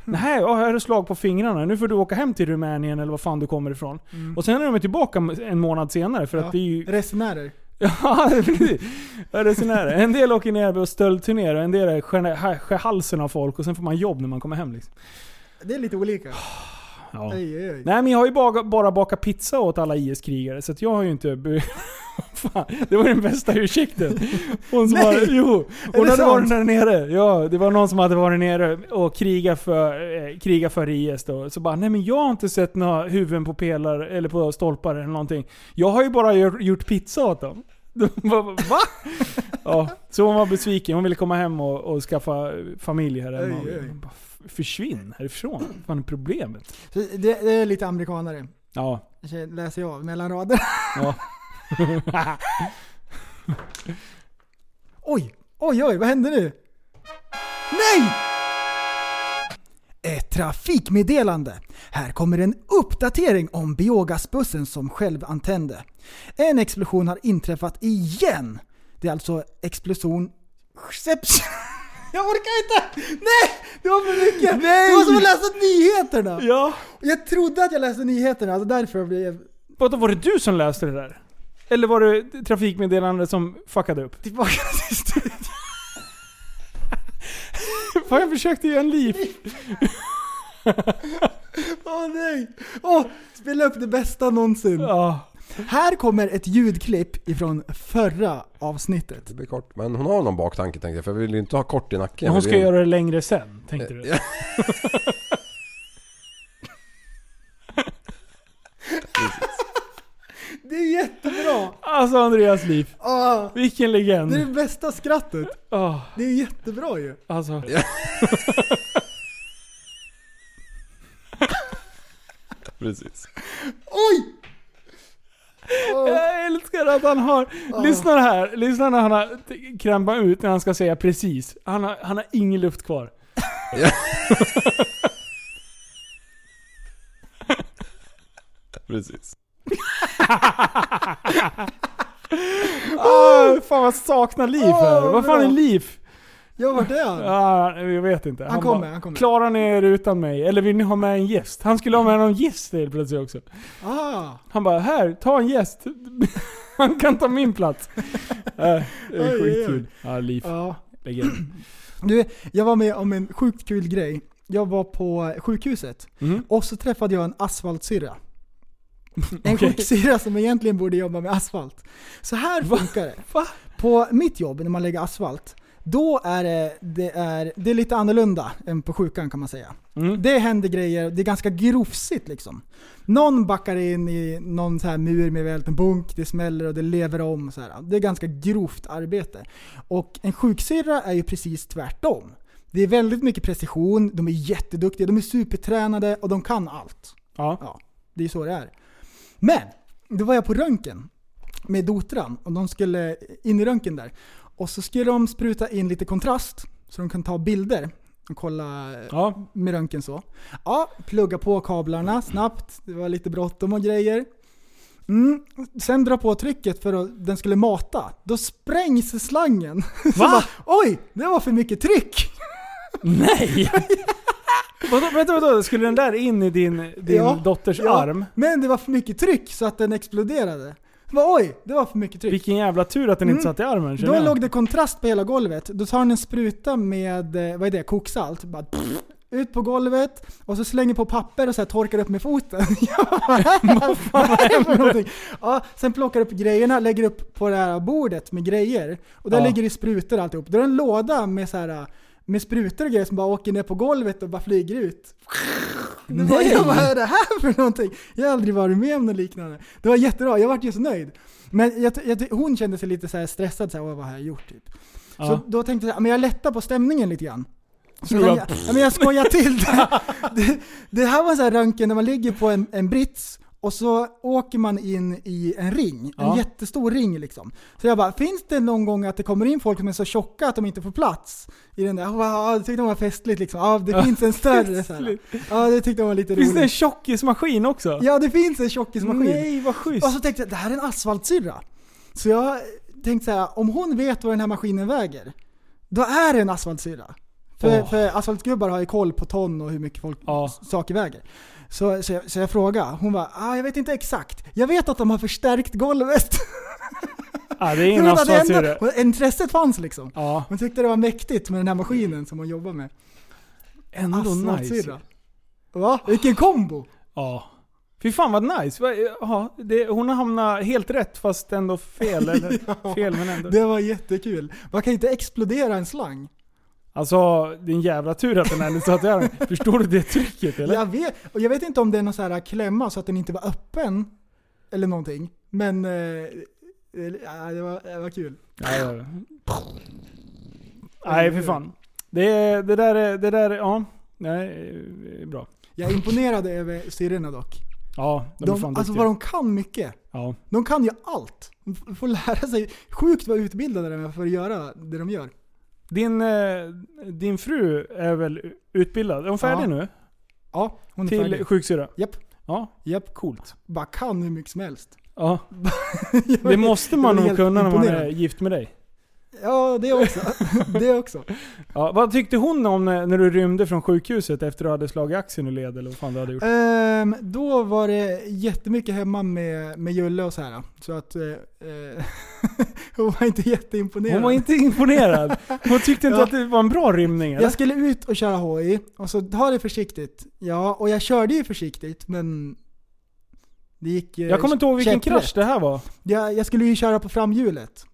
Nej, ja, här är slag på fingrarna. Nu får du åka hem till Rumänien eller var fan du kommer ifrån. Och sen är de tillbaka en månad senare för Ja. att det är ju Resenärer. Ja, precis. Ja, det är sån här. En del åker ner och stöldturnerar och en del skär, skär, skär halsen av folk och sen får man jobb när man kommer hem. Liksom. Det är lite olika. Ja. Oj, oj, oj. Nej men jag har ju bara, bara bakat pizza åt alla IS-krigare så att jag har ju inte... be- Fan, det var den bästa ursäkten. Hon som Nej! var, jo, det hon hade sant? varit där nere. Ja, det var någon som hade varit nere och krigat för, eh, krigat för IS då. Så bara, nej men jag har inte sett några huvuden på pelare eller på stolpar eller någonting. Jag har ju bara gör- gjort pizza åt dem. De bara, Va? Ja, så hon var besviken. Hon ville komma hem och, och skaffa familj här hemma. Oj, oj. Jag bara, Försvinn härifrån. Vad fan är problemet? Så Det, det är lite amerikanare. Ja, Det läser jag av mellan raderna. Ja. oj, oj, oj, vad hände nu? Nej! Ett trafikmeddelande. Här kommer en uppdatering om Biogasbussen som själv antände. En explosion har inträffat igen. Det är alltså explosion... Jag orkar inte! Nej! Det var för mycket! Det var som att läsa nyheterna! Ja. Jag trodde att jag läste nyheterna, alltså därför blev jag... Vadå, var det du som läste det där? Eller var det trafikmeddelandet som fuckade upp? Tillbaka till studion. Fan, jag försökte göra en liv. Åh nej! Åh, spela upp det bästa någonsin. Ja. Här kommer ett ljudklipp ifrån förra avsnittet. Det blir kort. Men hon har någon baktanke tänkte jag, för jag vill ju inte ha kort i nacken. Men hon Jag ska vill ju- göra det längre sen, tänkte du? Ja. Det är jättebra! Alltså Andreas liv. Åh, Vilken det är legend. det bästa skrattet. Åh, Det är jättebra ju. alltså. Precis. Oj! Ah, Jag älskar att han har... Lyssna här. Lyssna när han har krampat ut när han ska säga precis. Han har, han har ingen luft kvar. Precis. Åh, Ah, fan vad jag saknar liv här. Åh, Vad fan Ah, bra. är liv? Ja, vart är han? Ja, jag vet inte. Han, kommer, bara, han kommer. Klarar ni er utan mig? Eller vill ni ha med en gäst? Han skulle ha med någon gäst helt plötsligt också. Ah, Han bara, här, ta en gäst. Han kan ta min plats. Äh, det Oj, är oj, oj. skitkul. Ja, liv. ja. Legend. Du, jag var med om en sjukt kul grej. Jag var på sjukhuset Mm. och så träffade jag en asfaltsyrra. En Okej. sjuksyrra som egentligen borde jobba med asfalt. Så här funkar det. Va? På mitt jobb, när man lägger asfalt, då är det, det, är, det är lite annorlunda än på sjukan kan man säga. Mm. Det händer grejer, det är ganska grofsigt liksom. Någon backar in i någon så här mur med välten bunk, det smäller och det lever om. Så här. Det är ganska grovt arbete. Och en sjuksyrra är ju precis tvärtom. Det är väldigt mycket precision, de är jätteduktiga, de är supertränade och de kan allt. Ja. Ja, det är så det är. Men, då var jag på röntgen med dotran och de skulle in i röntgen där. Och så skulle de spruta in lite kontrast så de kan ta bilder och kolla ja. med röntgen så. Ja, plugga på kablarna snabbt. Det var lite bråttom och grejer. Mm. Sen dra på trycket för att den skulle mata. Då sprängs slangen. Så Va? bara, Oj, det var för mycket tryck! Nej! vadå, vänta, vadå? Skulle den där in i din, din Ja, dotters Ja, arm? Men det var för mycket tryck så att den exploderade. Bara, Oj, det var för mycket tryck. Vilken jävla tur att den inte Mm. satt i armen Då känner jag. låg det kontrast på hela golvet. Då tar han en spruta med, eh, vad är det, koksalt. Bara, pff, ut på golvet och så slänger på papper och så här torkar upp med foten. Jag bara, vad fan är det för någonting? ja, sen plockar upp grejerna, lägger upp på det här bordet med grejer. Och där Ja. ligger det sprutor och alltihop. Då är det en låda med så här eh, med sprutor och grejer som bara åker ner på golvet och bara flyger ut. Det var, Nej. jag bara, vad är det här för någonting? Jag har aldrig varit med om något liknande. Det var jättebra, jag vart ju så nöjd. Men jag, jag, hon kände sig lite så här stressad, så här, "Åh, vad har jag gjort? Typ. Ja. Så då tänkte jag, men jag lättar på stämningen lite grann. Så Tror tänkte jag, jag- ja, men jag skojar till det. det. Det här var en sån här röntgen där man ligger på en, en brits och så åker man in i en ring, Ja. en jättestor ring liksom. Så jag bara, finns det någon gång att det kommer in folk som är så tjocka att de inte får plats? I den där, wow, det tyckte de var festligt liksom. Ja, det finns en större så här. Ja, det tyckte de var lite Finns det en roligt. tjockismaskin också? Alltså, Ja, det finns en tjockismaskin. Nej, vad schysst. Och så tänkte jag, det här är en asfaltsyrra. Så jag tänkte så här, om hon vet vad den här maskinen väger, då är det en asfaltsyrra. För, Åh. för asfaltgubbar har ju koll på ton och hur mycket folk, Ja. saker väger. Så, så, jag, så jag frågade, hon bara ah, “Jag vet inte exakt, jag vet att de har förstärkt golvet”. ja, det är en Hon hade ändå- asfaltsyrra. hon- Intresset fanns liksom. Ja, Hon tyckte det var mäktigt med den här maskinen som hon jobbar med. ändå nice. Asfaltsyrra. Va? Vilken kombo! Ja. Fy fan vad nice. Vad- Ja, det, hon har hamnat helt rätt fast ändå fel. Eller, fel men ändå. Det var jättekul. Man kan inte explodera en slang. Alltså, det är en jävla tur att den här satt i armen. Förstår du det trycket eller? Jag vet, och jag vet inte om det är någon så här klämma så att den inte var öppen. Eller någonting. Men... Eh, eh, ja, det, var, det var kul. Nej, det- Nej för fan. Det, är- det där är, det där är, ja. Nej, det är bra. Jag är imponerad över syrrorna dock. Ja, de, De, är fan alltså duktiga. vad de kan mycket. Ja. De kan ju allt. De f- får lära sig. Sjukt vad utbildade de är för att göra det de gör. Din, eh, din fru är väl utbildad? Är hon färdig Ja, nu? Ja, hon är Till färdig. sjuksyra? Japp. Ja, Japp. coolt. Bara kan hur mycket som helst. Ja. Det måste man Jag är nog helt kunna när man är imponerad. gift med dig. Ja, det också. det också. Ja, vad tyckte hon om när, när du rymde från sjukhuset efter att du hade slagit axeln ur led eller vad fan du hade gjort? Ehm, då var det jättemycket hemma med, med Julle och så här. Så att eh, eh, hon var inte jätteimponerad. Hon var inte imponerad. Hon tyckte inte Ja. att det var en bra rymning eller? Jag skulle ut och köra hoj och så ta det försiktigt. Ja, och jag körde ju försiktigt men det gick eh, Jag kommer inte ihåg vilken käpprätt. krasch det här var. Jag, jag skulle ju köra på framhjulet.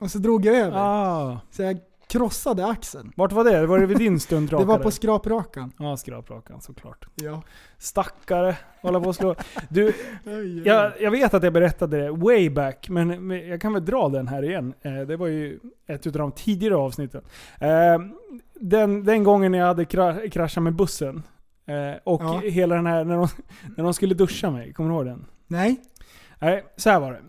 Och så drog jag över. Ah, Så jag krossade axeln. vart var det? Var det vid din stundrakare? Det var på skraprakan. Ja, skraprakan såklart. Ja. Stackare, hålla på och slå. Du, jag, jag vet att jag berättade det way back, men men jag kan väl dra den här igen. Eh, Det var ju ett utav de tidigare avsnitten. Eh, Den, den gången när jag hade kra- kraschat med bussen. eh, Och Ja. hela den här, när de, när de skulle duscha mig, kommer du ihåg den? Nej. Nej, så här var det.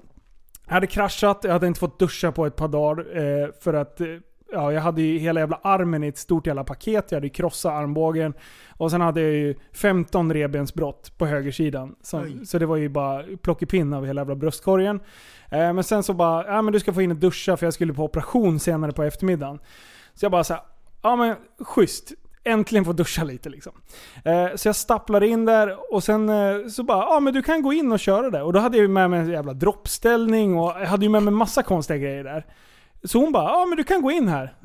Jag hade kraschat, jag hade inte fått duscha på ett par dagar. Eh, för att eh, ja, jag hade ju hela jävla armen i ett stort jävla paket. Jag hade ju krossat armbågen. Och sen hade jag ju 15 revbensbrott på högersidan. Som, Oj. så det var ju bara plockepinn av hela jävla bröstkorgen. Eh, men sen så bara, ja men du ska få in och duscha för jag skulle på operation senare på eftermiddagen. Så jag bara såhär, ja men schysst. Äntligen få duscha lite liksom. Eh, så jag stapplade in där och sen eh, så bara, ja ah, men du kan gå in och köra där. Och då hade jag ju med mig en jävla droppställning och jag hade ju med mig massa konstiga grejer där. Så hon bara, ja ah, men du kan gå in här.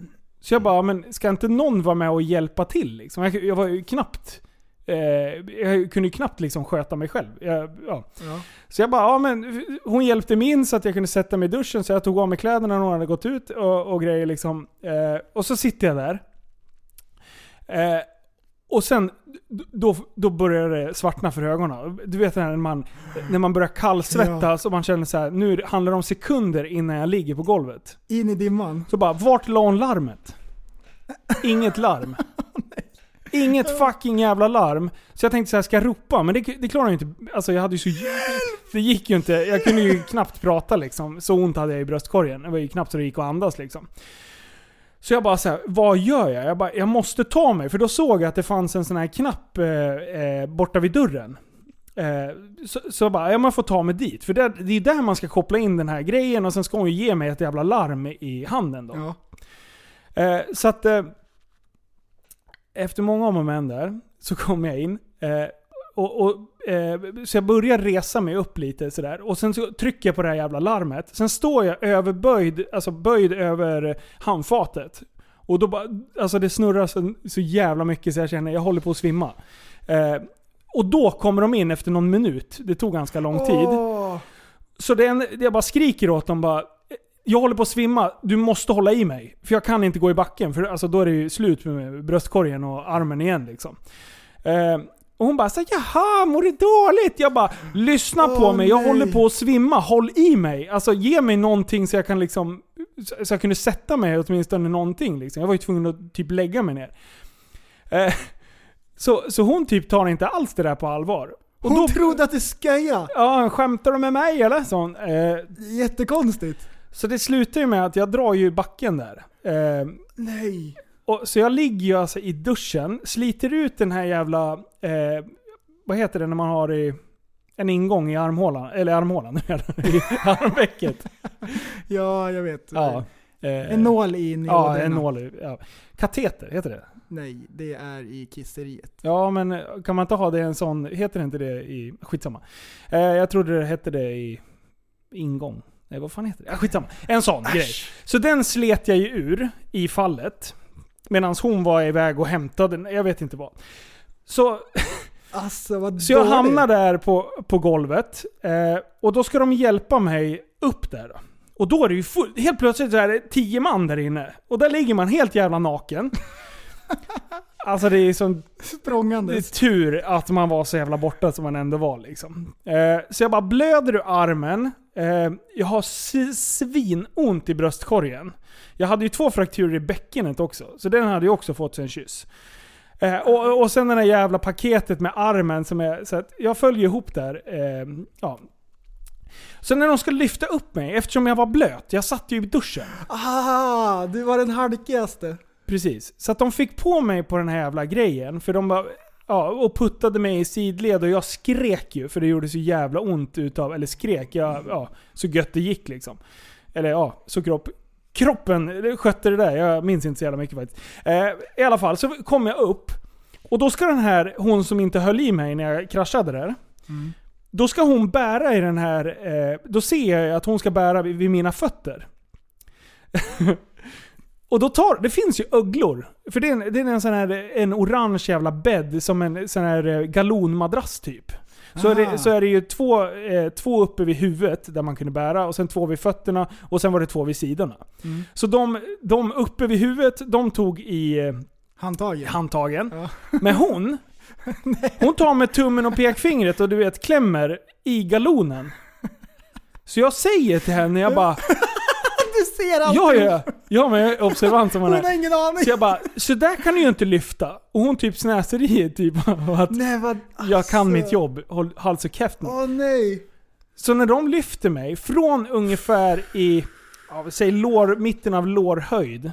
Så jag bara, "Ja, men ska inte någon vara med och hjälpa till liksom? Jag, jag var ju knappt, eh, jag kunde ju knappt liksom sköta mig själv. Jag, ja. Ja. Så jag bara, ja men hon hjälpte mig in så att jag kunde sätta mig i duschen så jag tog av mig kläderna när hon hade gått ut och, och grejer liksom. Eh, och så sitter jag där. Eh, och sen, d- då, då börjar det svartna för ögonen. Du vet när man, när man börjar kallsvettas och man känner så här, nu handlar det om sekunder innan jag ligger på golvet. In i dimman. Så bara, vart la hon larmet? Inget larm. Inget fucking jävla larm. Så jag tänkte så här, ska jag ropa? Men det, det klarar jag ju inte. Alltså jag hade ju så... Det gick ju inte. Jag kunde ju knappt prata liksom. Så ont hade jag i bröstkorgen. Det var ju knappt så det gick att andas liksom. Så jag bara så här, vad gör jag? Jag, bara, jag måste ta mig. För då såg jag att det fanns en sån här knapp eh, eh, borta vid dörren. Eh, så, så jag bara, ja man får ta mig dit. För det, det är där man ska koppla in den här grejen och sen ska hon ju ge mig ett jävla larm i handen då. Ja. Eh, så att... Eh, efter många om och men där, så kom jag in. Eh, och, och, eh, så jag börjar resa mig upp lite sådär. Och sen så trycker jag på det här jävla larmet. Sen står jag överböjd, alltså böjd över handfatet. Och då bara, alltså det snurrar så, så jävla mycket så jag känner, jag håller på att svimma. Eh, och då kommer de in efter någon minut. Det tog ganska lång tid. Åh. Så det, är en, det jag bara skriker åt dem bara. Jag håller på att svimma, du måste hålla i mig. För jag kan inte gå i backen, för alltså, då är det ju slut med bröstkorgen och armen igen liksom. Eh, och hon bara så här, jaha, mår du dåligt? Jag bara, lyssna Åh, på mig, jag nej. håller på att svimma, håll i mig. Alltså ge mig någonting så jag kan liksom, så- så jag kunde sätta mig åtminstone någonting liksom. Jag var ju tvungen att typ lägga mig ner. Eh, så, så hon typ tar inte alls det där på allvar. Och Hon då, trodde att det skoja. ja, skämtar du med mig eller? Så hon, eh, Jättekonstigt. så det slutar ju med att jag drar ju i backen där. Eh, Nej. och, så jag ligger ju alltså i duschen, sliter ut den här jävla... Eh, vad heter det när man har i, en ingång i armhålan? Eller armhålan, i armvecket. Ja, jag vet. ja. eh, En nål in i Ja, ådrorna. en nål. i- Ja. Kateter, heter det? Nej, det är i kisseriet. Ja, men eh, kan man inte ha det i en sån... Heter det inte det i... Skitsamma. Eh, jag trodde det hette det i ingång. Nej, vad fan heter det? Ja, skitsamma. En sån grej. Så den slet jag ju ur i fallet. Medan hon var iväg och hämtade, den. jag vet inte vad. Så, Alltså vad så jag dåligt. hamnar där på, på golvet. Eh, och då ska de hjälpa mig upp där. då. Och då är det ju full, helt plötsligt så är det tio man där inne. Och där ligger man helt jävla naken. Alltså det är som det är Språngandes. tur att man var så jävla borta som man ändå var liksom. Eh, så jag bara blöder ur armen. Eh, jag har si- svinont i bröstkorgen. Jag hade ju två frakturer i bäckenet också, så den hade ju också fått sig en kyss. Eh, och, och sen det där jävla paketet med armen som är... Så att jag följer ihop där. Eh, ja. Så när de skulle lyfta upp mig, eftersom jag var blöt, jag satt ju i duschen. Ah, du var den halkigaste. Precis. Så att de fick på mig på den här jävla grejen. För de bara, ja, och puttade mig i sidled och jag skrek ju. För det gjorde så jävla ont utav, eller skrek, jag, ja, så gött det gick liksom. Eller ja, så kropp, Kroppen det skötte det där, jag minns inte så jävla mycket faktiskt. Eh, I alla fall, så kom jag upp. Och då ska den här, hon som inte höll i mig när jag kraschade där. Då ska hon bära i den här, eh, då ser jag att hon ska bära vid, vid mina fötter. Och då tar, det finns ju öglor. För det är en, det är en sån här en orange jävla bädd, som en sån här eh, galonmadrass typ. Så är, det, så är det ju två, eh, två uppe vid huvudet där man kunde bära, och sen två vid fötterna, och sen var det två vid sidorna. Så de, de uppe vid huvudet, de tog i eh, Handtaget. handtagen. Men hon, hon tar med tummen och pekfingret och du vet klämmer i galonen. Så jag säger till henne, jag bara Du ser allt! Ja, ja, ja. men jag är observant som man Hon har är. ingen aning. Så jag bara, så där kan du ju inte lyfta. Och hon typ snäser i typ av att Nej vad... jag kan mitt alltså. jobb, håll hals och käft nu. Åh nej. Så när de lyfter mig från ungefär i, ja, säg lår, mitten av lårhöjd.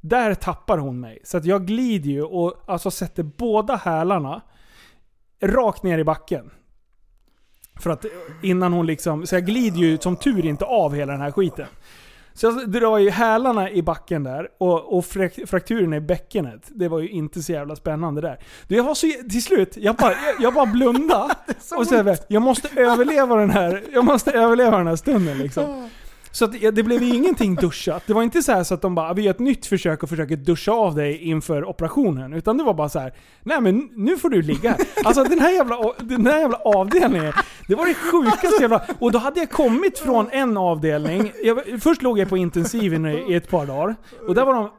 Där tappar hon mig. Så att jag glider ju och alltså sätter båda hälarna rakt ner i backen. För att eh, innan hon liksom, så jag glider ju som tur inte av hela den här skiten. Så jag drar ju hälarna i backen där och, och frak- frakturen i bäckenet. Det var ju inte så jävla spännande där. Du, jag var så, till slut, jag bara, jag, jag bara blundade. och så här, jag måste överleva den här, jag måste överleva den här stunden liksom. Så att, ja, det blev ju ingenting duschat. Det var inte så här så att de bara vi gör ett nytt försök och försöker duscha av dig inför operationen. Utan det var bara så här. nej men nu får du ligga här. Alltså den här jävla, den här jävla avdelningen, det var det sjukaste jävla... Och då hade jag kommit från en avdelning, jag, först låg jag på intensiven i, i ett par dagar. Och där var de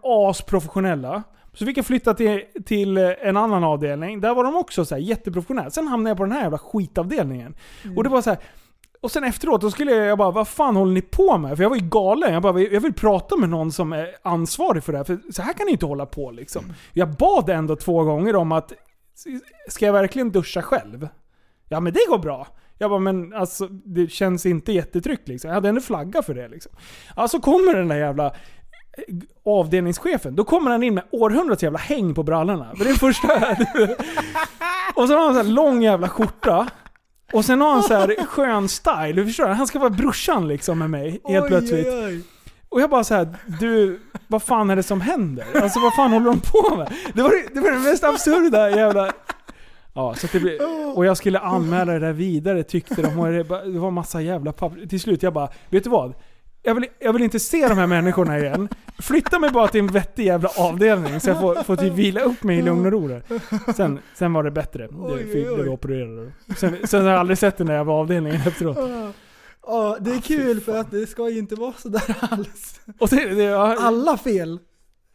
asprofessionella. Så fick jag flytta till, till en annan avdelning, där var de också så här jätteprofessionella. Sen hamnade jag på den här jävla skitavdelningen. Och det var så här, och sen efteråt, då skulle jag, jag bara vad fan håller ni på med? För jag var ju galen. Jag bara, jag vill prata med någon som är ansvarig för det här. För så här kan ni inte hålla på liksom. Jag bad ändå två gånger om att, ska jag verkligen duscha själv? Ja men det går bra. Jag bara, men alltså det känns inte jättetryggt liksom. Jag hade ändå flagga för det liksom. Alltså kommer den där jävla avdelningschefen, då kommer han in med århundradets jävla häng på brallorna. För det är första... och så har han en här lång jävla skjorta. Och sen har han så här skön style, du förstår? Han ska vara brorsan liksom med mig helt plötsligt. Oj, oj. Och jag bara så här, du, vad fan är det som händer? Alltså vad fan håller de på med? Det var det, var det mest absurda jävla... Ja, så att det blev, och jag skulle anmäla det där vidare tyckte de. Och det bara- det var massa jävla papper. Till slut jag bara, vet du vad? Jag vill, jag vill inte se de här människorna igen. Flytta mig bara till en vettig jävla avdelning så jag får, får typ vila upp mig i lugn och ro där. Sen, sen var det bättre. Det Oj, fick oj, oj. blev opererad. Sen, sen har jag aldrig sett den där jävla avdelningen efteråt. Ja, det Ah, är kul för att det ska ju inte vara sådär alls. Och det, det, jag, Alla fel.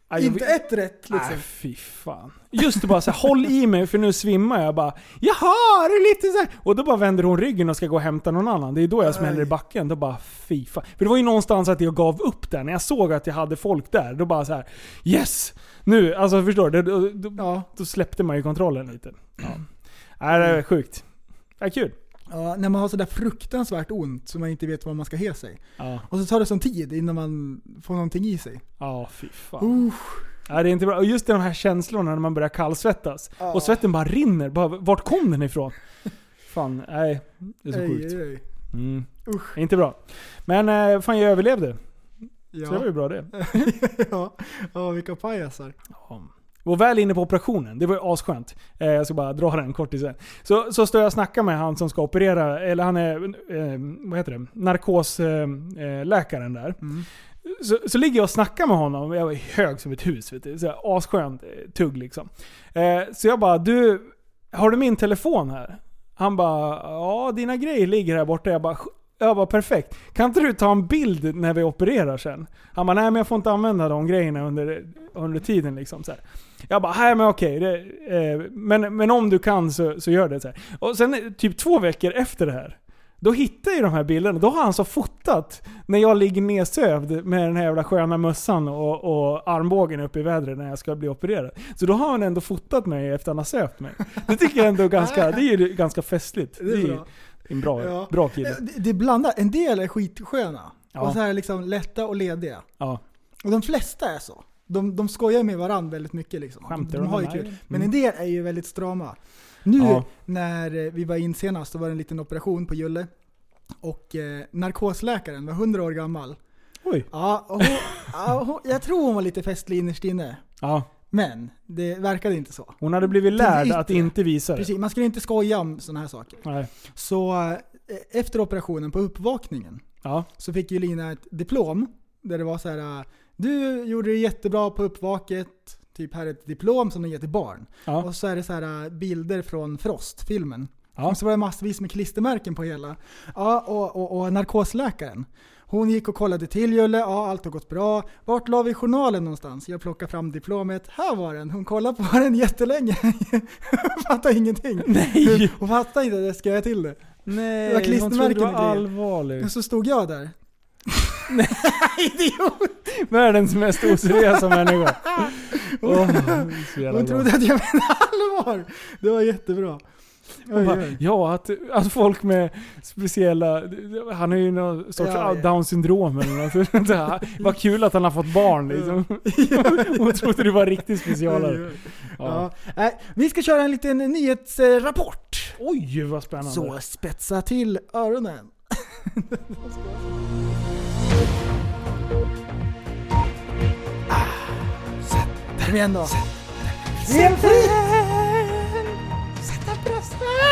jag- Inte ett rätt liksom. Nej, Äh, fy fan. Just det, bara så här, håll i mig för nu svimmar jag. bara Jaha, det är lite så här. Och då bara vänder hon ryggen och ska gå och hämta någon annan. Det är då jag smäller i Aj. backen. Då bara fy fan. För det var ju någonstans att jag gav upp där. När jag såg att jag hade folk där, då bara så här Yes! Nu, alltså förstår du? Då, då, Ja. då släppte man ju kontrollen lite. Ja. Nej, det är sjukt. Ja, kul. Ja, när man har sådär fruktansvärt ont så man inte vet vad man ska he sig. Ja, Och så tar det sån tid innan man får någonting i sig. ja fy fan. Ja, det är inte bra. Och just de här känslorna när man börjar kallsvettas. Och svetten bara rinner. Bara, vart kom den ifrån? Fan, nej. Det är så sjukt. Ej, ej. Mm. Usch. Inte bra. Men eh, fan jag överlevde. Så det var ju Ja. bra det. ja. ja, vilka pajasar. Och väl inne på operationen, det var ju asskönt. Eh, jag ska bara dra den kort sen. Så, så står jag och snackar med han som ska operera, eller han är, eh, vad heter det, narkosläkaren eh, läkaren där. Så, så ligger jag och snackar med honom, jag var hög som ett hus. Vet du. Så här, asskönt eh, tugg liksom. Eh, så jag bara, du, har du min telefon här? Han bara, ja dina grejer ligger här borta. Jag bara, "Sj-" jag bara perfekt. Kan inte du ta en bild när vi opererar sen? Han bara, nej men jag får inte använda de grejerna under, under tiden liksom. Så här. Jag bara, nej men okej. Det, eh, men, men om du kan så, så gör det. Så här. Och sen eh, typ två veckor efter det här, då hittar jag ju de här bilderna. Då har han så fotat när jag ligger nedsövd med den här jävla sköna mössan och, och armbågen upp i vädret när jag ska bli opererad. Så då har han ändå fotat mig efter han har sövt mig. Det tycker jag ändå är ganska, det är ju ganska festligt. Det är bra. en bra, Ja. bra kille. Eh, Det, det blandar. En del är skitsköna. Ja. Och så här liksom lätta och lediga. Ja. Och de flesta är så. De, de skojar med varandra väldigt mycket liksom. Skämtar de, de har ju med mig? kul. Men Mm. en del är ju väldigt strama. Nu Ja. när eh, vi var in senast, då var det en liten operation på Julle. Och eh, narkosläkaren var 100 år gammal. Oj. Ja, och hon, ja, hon, jag tror hon var lite festlig innerst inne. Ja. Men det verkade inte så. Hon hade blivit lärd att inte visa det. Precis, man skulle inte skoja om sådana här saker. Nej. Så eh, efter operationen på uppvakningen Ja. så fick ju Lina ett diplom där det var så här. eh, Du gjorde det jättebra på uppvaket. Typ här är ett diplom som du ger till barn. Ja. Och så är det så här eh, bilder från Frost-filmen. Ja. Och så var det massvis med klistermärken på hela. Ja, och, och, och narkosläkaren. Hon gick och kollade till Julle, ja allt har gått bra. Vart la vi journalen någonstans? Jag plockade fram diplomet, här var den. Hon kollade på den jättelänge. Fattar ingenting. Nej! Hon fattar inte, det ska jag till det. Det Nej, var hon trodde klistermärken du var och grejer. allvarlig. Men så stod jag där. Världens mest oseriösa människa. Åh, så jävla Hon bra. trodde att jag menade allvar. Det var jättebra. Oj, Bara, oj. Ja, att, att folk med speciella... Han är ju någon sorts Ja, ja. down syndrom eller något. sånt där. Vad kul att han har fått barn liksom. Hon trodde du var riktigt specialare. Ja. Ja. Nej, vi ska köra en liten nyhetsrapport. Oj, vad spännande. Så spetsa till öronen. Ah, Kom igen då. Sätt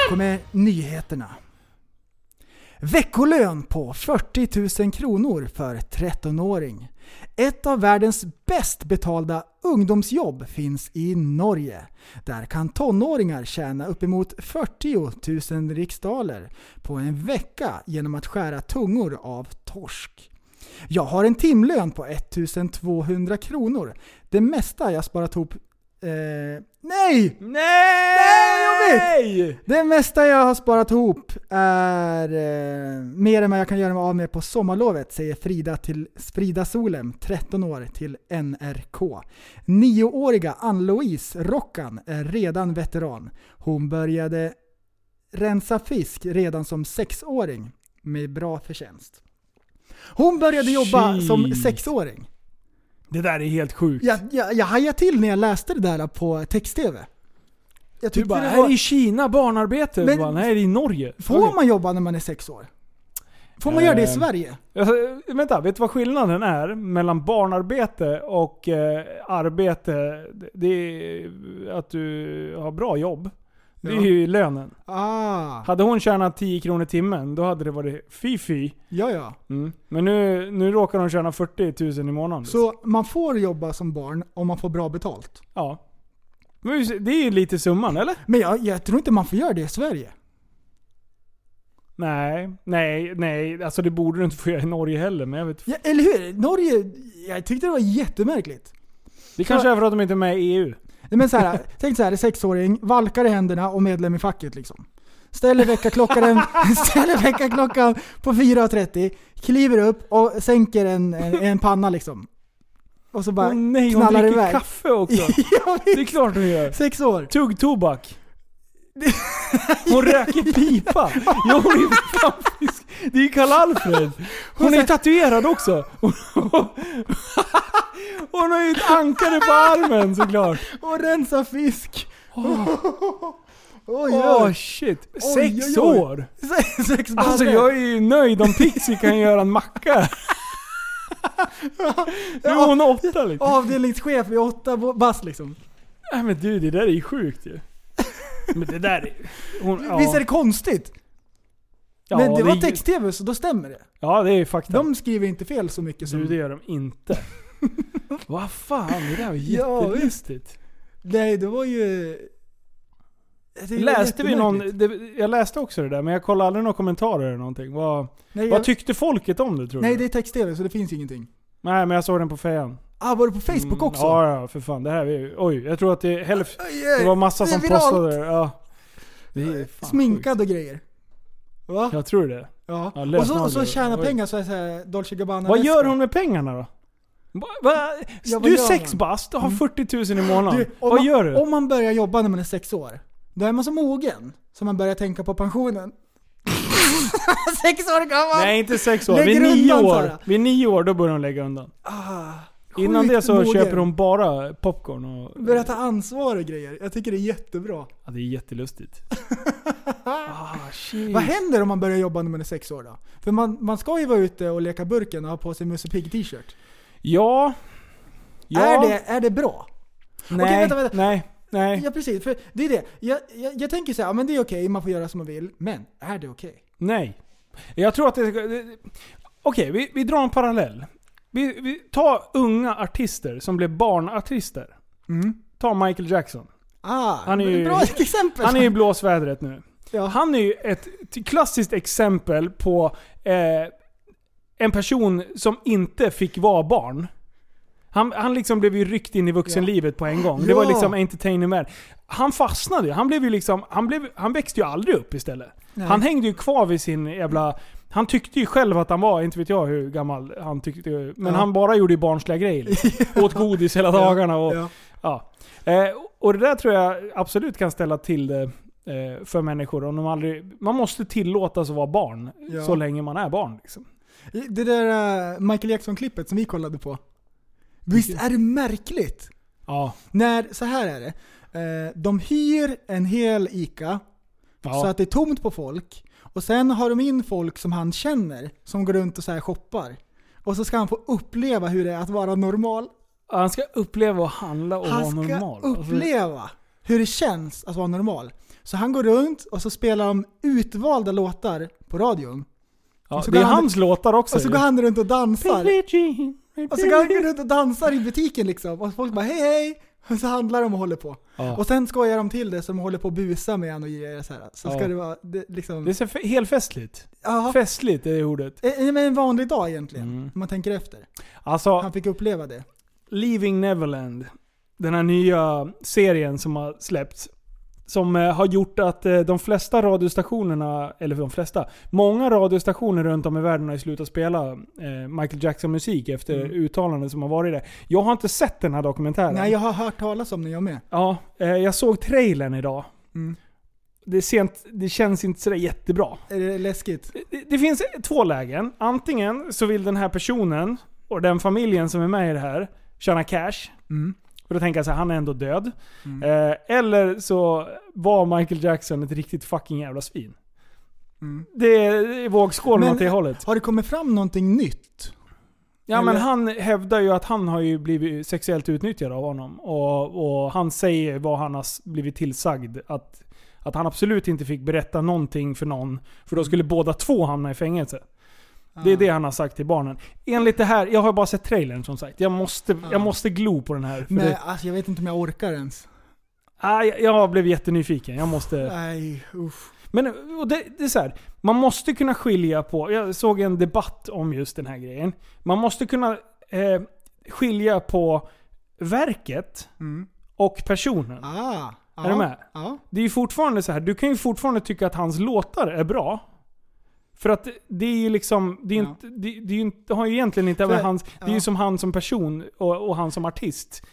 kommer nyheterna. Veckolön på 40 000 kronor för 13-åring. Ett av världens bäst betalda ungdomsjobb finns i Norge. Där kan tonåringar tjäna uppemot 40 000 riksdaler på en vecka genom att skära tungor av torsk. Jag har en timlön på 1200 kronor. Det mesta jag sparat ihop... Eh, nej! Nej! Det mesta jag har sparat ihop är eh, mer än vad jag kan göra mig av med på sommarlovet, säger Frida, till, Frida Solem, 13 år, till NRK. Nioåriga Ann-Louise Rockan är redan veteran. Hon började rensa fisk redan som sexåring med bra förtjänst. Hon började jobba som Shit. sexåring. Det där är helt sjukt. Jag, jag, jag hajade till när jag läste det där på text-tv. Jag Du tyckte Typ bara, det här var- i Kina barnarbete. Men- Men, bara, nej, det är i Norge. Alltså, Får Okej. man jobba när man är sex år? Får man göra det i Ehm. Sverige? Alltså, vänta, vet du vad skillnaden är mellan barnarbete och eh, arbete? Det är att du har bra jobb. Det är Ja. ju lönen. Ah, Hade hon tjänat 10 kronor i timmen, då hade det varit fy-fy. ja ja. Men nu, nu råkar hon tjäna 40 000 i månaden. Så man får jobba som barn om man får bra betalt. Ja. Men vi- det är ju lite summan, eller? Men jag, jag tror inte man får göra det i Sverige. Nej, nej, nej. Alltså det borde du inte få göra i Norge heller, men jag vet Ja, eller hur? Norge, jag tyckte det var jättemärkligt. Det kanske är för att de inte är med i E EU. Nej, Men så här, tänk så här, en sexåring, valkar i händerna och medlem i facket liksom. Ställer väckarklockan, ställer väckarklockan på 4.30, kliver upp och sänker en, en, en panna liksom. Och så bara Åh nej, hon knallar dricker iväg. kaffe också. ja, Det är klart hon gör. Sex år. Tugg tobak. Hon röker pipa. Ja, hon är för fan frisk. Det är ju Karl-Alfred. Hon är ju tatuerad också. Hon har ju ett ankare på armen såklart. Och rensa fisk. Oj, Oh. Åh oj. shit. Oj, Sex oj, oj. år. Se- Sex baller. Alltså jag är ju nöjd om Pixie kan göra en macka. Nu är hon åtta liksom. Avdelningschef vid åtta bo- bass liksom. Nej men du, det där är ju sjukt ju. Men det där är... Hon, ja. Visst är det konstigt? Men det, Ja, var är- text-tv så då stämmer det. Ja det är ju fakta. De skriver inte fel så mycket som... Du, det gör de inte. Mm. Vad fan, det där var Ja, visst. jättelustigt. Nej, det var ju... Det var läste vi någon... jättemärkligt. Det, jag läste också det där, men jag kollade aldrig några kommentarer eller någonting. Vad, Nej, vad jag, tyckte folket om det tror nej du? det är text-tv så det finns ingenting. Nej, men jag såg den på fejan. Ah, var det på Facebook Mm, också? Ja, ja, för fan. Det här är ju... Oj, jag tror att det är hälf, Det var massa Det är som viralt. postade det. Ja. Det är fan Sminkad och grejer. Va? sjukt. Jag tror det. Ja. Ja, och så, och så lösnagel. tjäna Oj. pengar så är det så här Dolce Gabbana Vad gör väskor. hon med pengarna då? Va, va, Ja, vad du är gör sex hon? Mm. bast och har 40 000 i månaden. Du, om vad man, gör du? Om man börjar jobba när man är sex år, då är man så mogen så man börjar tänka på pensionen. sex år gammal! Nej, inte sex år. Lägger Vid nio undan, år. Sara. Vid nio år, då börjar hon lägga undan. Ah, Innan Sjukt det så mogen. köper hon bara popcorn och... Börja ta ansvar och grejer. Jag tycker det är jättebra. Ja, det är jättelustigt. ah, shit. Vad händer om man börjar jobba när man är sex år då? För man, man ska ju vara ute och leka burken och ha på sig Musse Pigg t-shirt. Ja... Ja. Är, det, är det bra? Nej, vänta, vänta. nej, nej. Ja precis, för det är det. Jag, jag, jag tänker så här, ja, men det är okej, man får göra som man vill. Men, är det okej? Nej. Jag tror att det... det- Okej, vi, vi drar en parallell. Vi, vi tar unga artister som blev barnartister. Mm. Ta Michael Jackson. Ah, Han är ju- bra exempel! Han är ju i blåsvädret nu. Ja. Han är ju ett t- klassiskt exempel på eh, en person som inte fick vara barn. Han, han liksom blev ju ryckt in i vuxenlivet på en gång. Det var Ja. liksom entertainment. man. Han fastnade ju. Han blev ju liksom, han, blev, han växte ju aldrig upp istället. Han hängde ju kvar vid sin jävla... Han tyckte ju själv att han var, inte vet jag hur gammal han tyckte, men Ja. han bara gjorde ju barnsliga grejer. Liksom. Åt godis hela dagarna och... Ja. Ja. Eh, och det där tror jag absolut kan ställa till det eh, för människor. Om de aldrig, man måste tillåtas att vara barn Ja. så länge man är barn. Liksom. Det där eh, Michael Jackson-klippet som vi kollade på. Visst är det märkligt? Ja. När, så här är det. Eh, De hyr en hel ICA ja. så att det är tomt på folk. Och sen har de in folk som han känner, som går runt och så här shoppar. Och så ska han få uppleva hur det är att vara normal. han ska uppleva och handla och Han vara ska normal. Alltså, uppleva hur det känns att vara normal. Så han går runt och så spelar de utvalda låtar på radion. och Alltså, så ja, det är går han- hans låtar också. Och så ju. går han runt och dansar. Och så går han runt och dansar i butiken liksom. Och folk bara hej hej. Och så handlar de och håller på. Ja. Och sen skojar de till det så de håller på att busa med en och ger så här. Så ska Ja. det vara det, liksom... Det är så fe- helt festligt. ja, Festligt är ordet. eh, eh, men en vanlig dag egentligen. Mm. Om man tänker efter. Alltså, Han fick uppleva det. Leaving Neverland. Den här nya serien som har släppts. Som eh, har gjort att eh, de flesta radiostationerna, eller de flesta, många radiostationer runt om i världen har ju slutat spela eh, Michael Jackson-musik efter uttalanden som har varit där. Jag har inte sett den här dokumentären. Mm. Nej jag har hört talas om det jag med. Ja, eh, jag såg trailern idag. Mm. Det, är sent, det känns inte sådär jättebra. Är det läskigt? Det, det finns två lägen. Antingen så vill den här personen och den familjen som är med i det här tjäna cash. Mm. För då tänker jag så här, han är ändå död. Eh, eller så var Michael Jackson ett riktigt fucking jävla svin. Mm. Det är vågskålen Men- åt det hållet. Har det kommit fram någonting nytt? Ja men eller- han hävdar ju att han har ju blivit sexuellt utnyttjad av honom. Och, och han säger vad han har s- blivit tillsagd. Att, att han absolut inte fick berätta någonting för någon. För då Mm. skulle båda två hamna i fängelse. Ah. Det är det han har sagt till barnen. Enligt det här, jag har bara sett trailern som sagt. Jag måste, Ah. jag måste glo på den här. För Nej, det, alltså jag vet inte om jag orkar ens. ah, jag, jag blev jättenyfiken. Jag måste... Nej, uff. Men och det, det är så här, man måste kunna skilja på, jag såg en debatt om just den här grejen. Man måste kunna eh, skilja på verket Mm. och personen. Ah. Är du med? Ja. Det är ju fortfarande så här, du kan ju fortfarande tycka att hans låtar är bra. För att det är ju liksom, det, är Ja. inte, det, det, är ju inte, det har ju egentligen inte För- med hans, det är ja. ju som han som person och, och han som artist.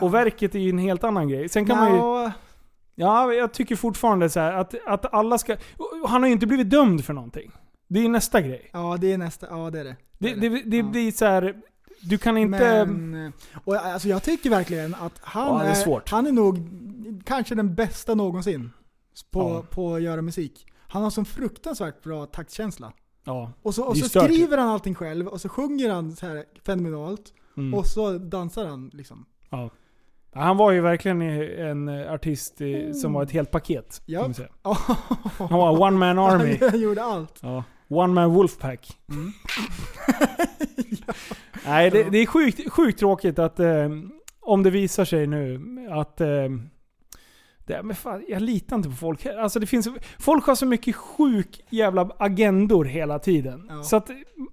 Och verket är ju en helt annan grej. Sen kan man ju... Nja, Ja, jag tycker fortfarande så här att, att alla ska... Han har ju inte blivit dömd för någonting. Det är ju nästa grej. Ja, det är nästa. Ja, det är det. Det, är det, det, Ja. blir så här... Du kan inte... Men, och jag- alltså jag tycker verkligen att han, Ja, det är svårt. han är nog kanske den bästa någonsin på, Ja. på att göra musik. Han har sån fruktansvärt bra taktkänsla. Ja. Och så, och Det är så stört. skriver han allting själv och så sjunger han så här fenomenalt. Mm. Och så dansar han liksom. ja. Han var ju verkligen en artist eh, som var ett helt paket. Mm. Ja. kan man säga. Ja. Han var one man army. Han gjorde allt. Ja. One man wolfpack. Nej, det, det är sjukt, sjukt tråkigt att eh, om det visar sig nu att eh, det, men fan, jag litar inte på folk. här. Alltså det finns, folk har så mycket sjuk jävla agendor hela tiden. Ja. Så att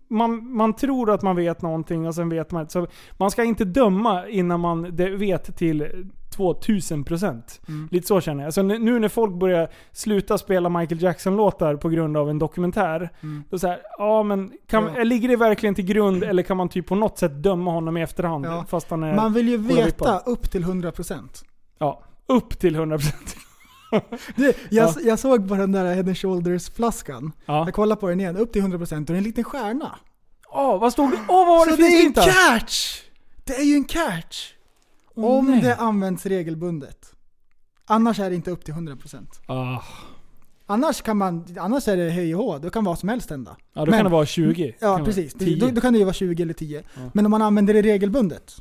man, man tror att man vet någonting och sen vet man inte. Så Man ska inte döma innan man det vet till 2000%. Mm. Lite så känner jag. Så nu- nu när folk börjar sluta spela Michael Jackson-låtar på grund av en dokumentär. Mm. Då så här, ja men kan, eh, Ja. ligger det verkligen till grund eller kan man typ på något sätt döma honom i efterhand? Ja. Fast han är Man vill ju Kolla veta vippar. upp till 100%. ja, upp till 100%. Du, jag, Ja. jag såg på den där Head Shoulders flaskan. Ja. Jag kollar på den igen, upp till 100% och det är en liten stjärna. Åh, vad stod det? Åh, vad var det Så det är en finstinta? catch! Det är ju en catch! Åh, om nej. det används regelbundet. Annars är det inte upp till 100%. Ah. Annars, kan man, annars är det hej och hå, då kan vad som helst hända. Ja, då Men- kan det vara 20. Ja kan det precis, Vara 10. då, då kan det ju vara 20 eller 10. Ja. Men om man använder det regelbundet,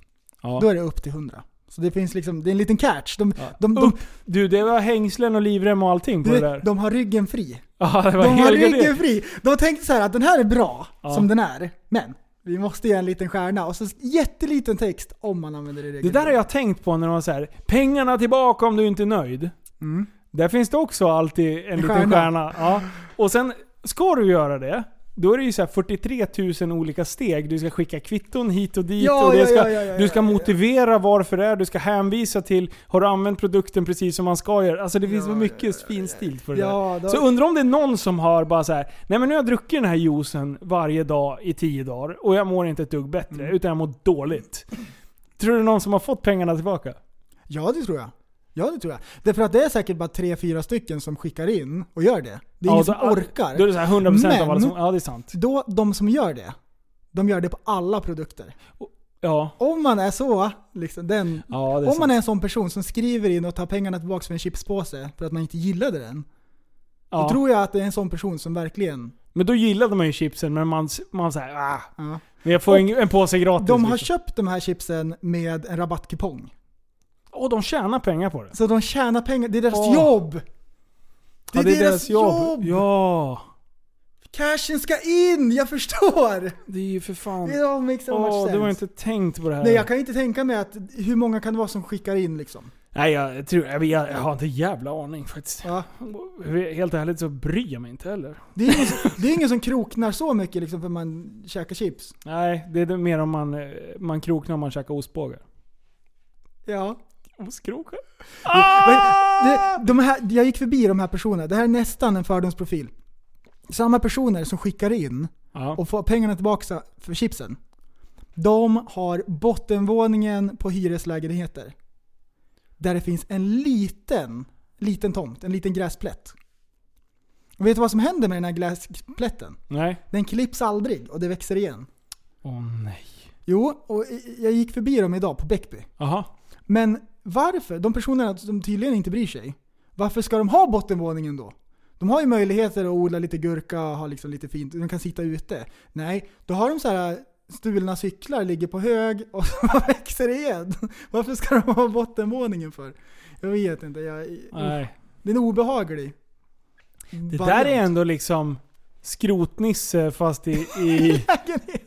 ja. då är det upp till 100. Så det finns liksom, det är en liten catch. De, Ja. de, de, Upp. Du, det var hängslen och livrem och allting på det, du där. vet, de har ryggen fri. Ja, det var De har helgardin. ryggen fri. De tänkte så här att den här är bra, Ja. som den är. Men, vi måste ge en liten stjärna. Och så jätteliten text om man använder det Det regelbundet. där har jag tänkt på när de var så här. pengarna tillbaka om du inte är nöjd. Mm. Där finns det också alltid en liten stjärna. stjärna. Ja. Och sen, ska du göra det, då är det ju så här 43 000 olika steg. Du ska skicka kvitton hit och dit. Ja, och det ja, ska, ja, ja, ja, du ska ja, ja. motivera varför det är. Du ska hänvisa till, har du använt produkten precis som man ska göra? Alltså det finns så mycket fin stil för det där. Ja, då, Så undrar om det är någon som har bara så här, nej men nu har jag druckit den här juicen varje dag i tio dagar och jag mår inte ett dugg bättre, Mm. utan jag mår dåligt. Tror du det är någon som har fått pengarna tillbaka? ja, det tror jag. Ja, det tror jag. Därför att det är säkert bara tre, fyra stycken som skickar in och gör det. Det är ingen Ja, som då- orkar. Då är det så här 100% av Men- alla som... Ja, det är sant. Då, de som gör det, de gör det på alla produkter. Ja, Om man är så, liksom den... ja det är Om man sant. är en sån person som skriver in och tar pengarna tillbaka för en chipspåse för att man inte gillade den. Då Ja. tror jag att det är en sån person som verkligen... Men då gillade man ju chipsen, men man, man såhär ah, Ja. men jag får en, en påse gratis. De har liksom. köpt de här chipsen med en rabattkupong. Åh, de tjänar pengar på det. Så de tjänar pengar. Det är deras Åh. jobb! Det är, Ja, det är deras, jobb. Ja. Cashen ska in! Jag förstår! Det är ju för fan... It all makes so much Åh, sense. du har inte tänkt på det här. Nej, jag kan inte tänka mig att hur många kan det vara som skickar in liksom. Nej, jag, tror, jag, jag, jag har inte jävla aning faktiskt. Ja. Helt ärligt så bryr jag mig inte heller. Det är ingen, det är ingen som kroknar så mycket liksom för man käkar chips. Nej, det är det mer om man, eh, man kroknar om man käkar ostbågar. Ja. Ostkrokar? Men, det, de här, jag gick förbi de här personerna. Det här är nästan en fördomsprofil. Samma personer som skickar in Ja. och får pengarna tillbaka för chipsen. De har bottenvåningen på hyreslägenheter. Där det finns en liten, liten tomt, en liten gräsplätt. Och vet du vad som händer med den här gräsplätten? Nej. Den klipps aldrig och det växer igen. Åh nej. Jo, och jag gick förbi dem idag på Bäckby. Jaha. Men varför? De personerna som tydligen inte bryr sig. Varför ska de ha bottenvåningen då? De har ju möjligheter att odla lite gurka och ha liksom lite fint. De kan sitta ute. Nej, då har de så här äh, stulna cyklar ligger på hög och växer igen. Varför ska de ha bottenvåningen för? Jag vet inte. Jag, Nej. det är en obehaglig. Det där är ändå liksom skrotnisse fast i, i, i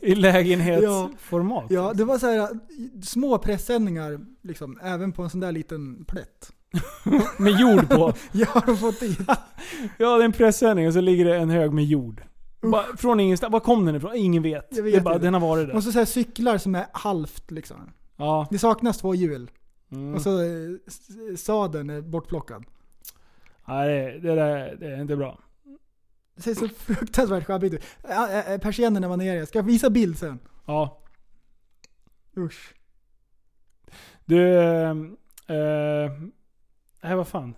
Ja. lägenhetsformat. Ja, det var så här äh, små pressändningar liksom, även på en sån där liten plätt. Med jord på. Jag har fått dit. Ja, det är en pressändning och så ligger det en hög med jord. Bara, från ingenstans. Var kom den ifrån? Ingen vet. Jag vet det är bara, inte. den har varit där. Och så, så här cyklar som är halvt liksom. Ja. Det saknas två hjul. Mm. Och så eh, s- sadeln är bortplockad. Nej, det, det, där, det är inte bra. Det ser så fruktansvärt sjabbigt ut. Ä- ä- ä, Persiennerna var nere, jag ska visa bild sen. Ja. Usch. Du... Eh, eh, nej, vad fan.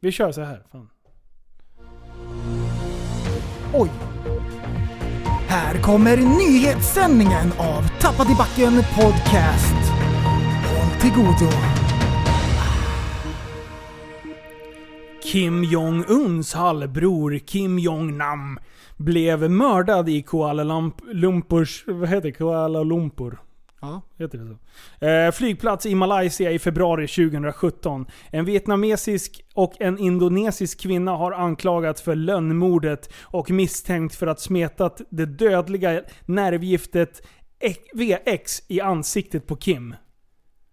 Vi kör så här. Fan. Oj! Här kommer nyhetssändningen av Tappad i backen podcast. Håll till godo. Kim Jong-Uns halvbror Kim Jong-Nam blev mördad i Kuala Lump- Lumpurs... Vad heter det? Kuala Lumpur? Ja. Heter det så? Eh, flygplats i Malaysia i februari 2017. En vietnamesisk och en indonesisk kvinna har anklagats för lönnmordet och misstänkt för att smetat det dödliga nervgiftet E- VX i ansiktet på Kim.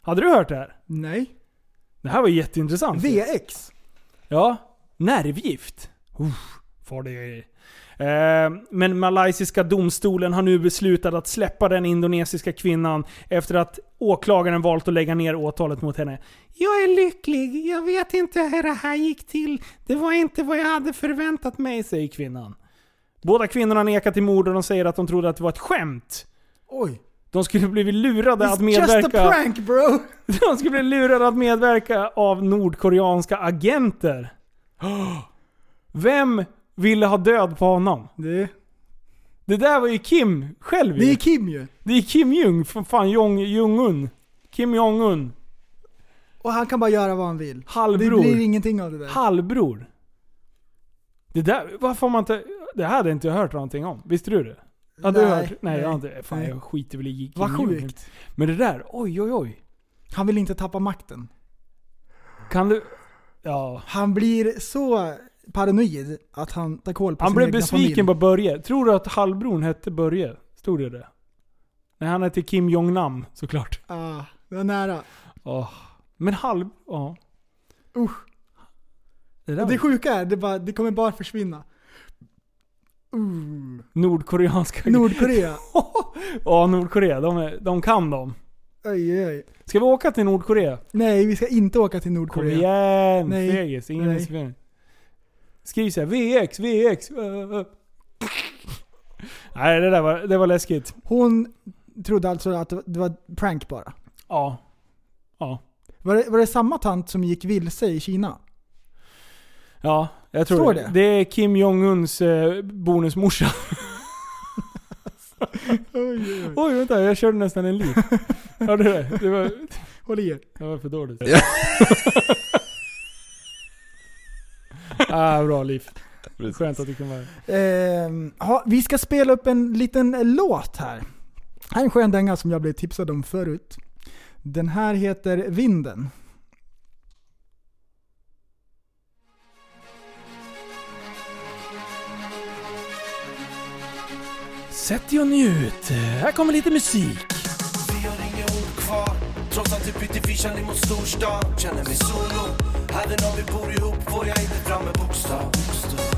Hade du hört det här? Nej. Det här var ju jätteintressant. VX. Ja, nervgift. Uff, farliga grejer. Eh, Men malaysiska domstolen har nu beslutat att släppa den indonesiska kvinnan efter att åklagaren valt att lägga ner åtalet mot henne. Jag är lycklig, jag vet inte hur det här gick till. Det var inte vad jag hade förväntat mig, säger kvinnan. Båda kvinnorna nekar till mord och de säger att de trodde att det var ett skämt. Oj. De skulle blivit lurade att It's medverka... just a prank bro. De skulle bli lurade att medverka av nordkoreanska agenter. Vem ville ha död på honom? Det, Det där var ju Kim själv Det ju. är Kim ju. Det är Kim Jong, för fan Jong, Jong-Un. Kim Jong-Un. Och han kan bara göra vad han vill. Halvbror. Det blir ingenting av det där. Halvbror. Det där, varför har man inte... Det här hade inte jag hört någonting om. Visste du det? Hade du Nej, hört? Nej, jag har nej, inte. Fan nej. jag skiter väl i Kim Vad Jong. sjukt. Men det där, oj oj oj. Han vill inte tappa makten. Kan du... Ja. Han blir så paranoid att han tar koll på Han sin blev egna besviken familj. på Börje. Tror du att halvbron hette Börje? Stod det det? Nej, han hette Kim Jong-Nam såklart. Ah, det var nära. Åh. Men halv... Ja. Usch. Det Och där det det sjuka är, det, bara, det kommer bara försvinna. Uh, Nordkoreanska... Nordkorea. ja, Nordkorea. De, är, de kan dem. Oj, oj. Ska vi åka till Nordkorea? Nej, vi ska inte åka till Kom Nordkorea. igen! Nej. Fegis. Ingen Nej. missförstånd. Skriv såhär VX, VX. ö, ö. Nej, det där var, det var läskigt. Hon trodde alltså att det var- det var prank bara. Ja. Var det, var det samma tant som gick vilse i Kina? Ja, jag tror Står det. det? Det är Kim Jong-Uns eh, bonusmorsa. Oj, oj. Oj, vänta. Jag körde nästan en lin. Hörde du det? Det var, Håll i er. det var för dåligt. Ja. ah, bra liv. Precis. Skönt att du kan vara här. Ehm, ja, vi ska spela upp en liten låt här. Här är en skön dänga som jag blev tipsad om förut. Den här heter Vinden. Sätt dig och njut. Här kommer lite musik. Vi har inga ord kvar Trots att vi bytte vischan emot storstan Känner mig solo Hade någon vi bor ihop får jag inte fram en bokstav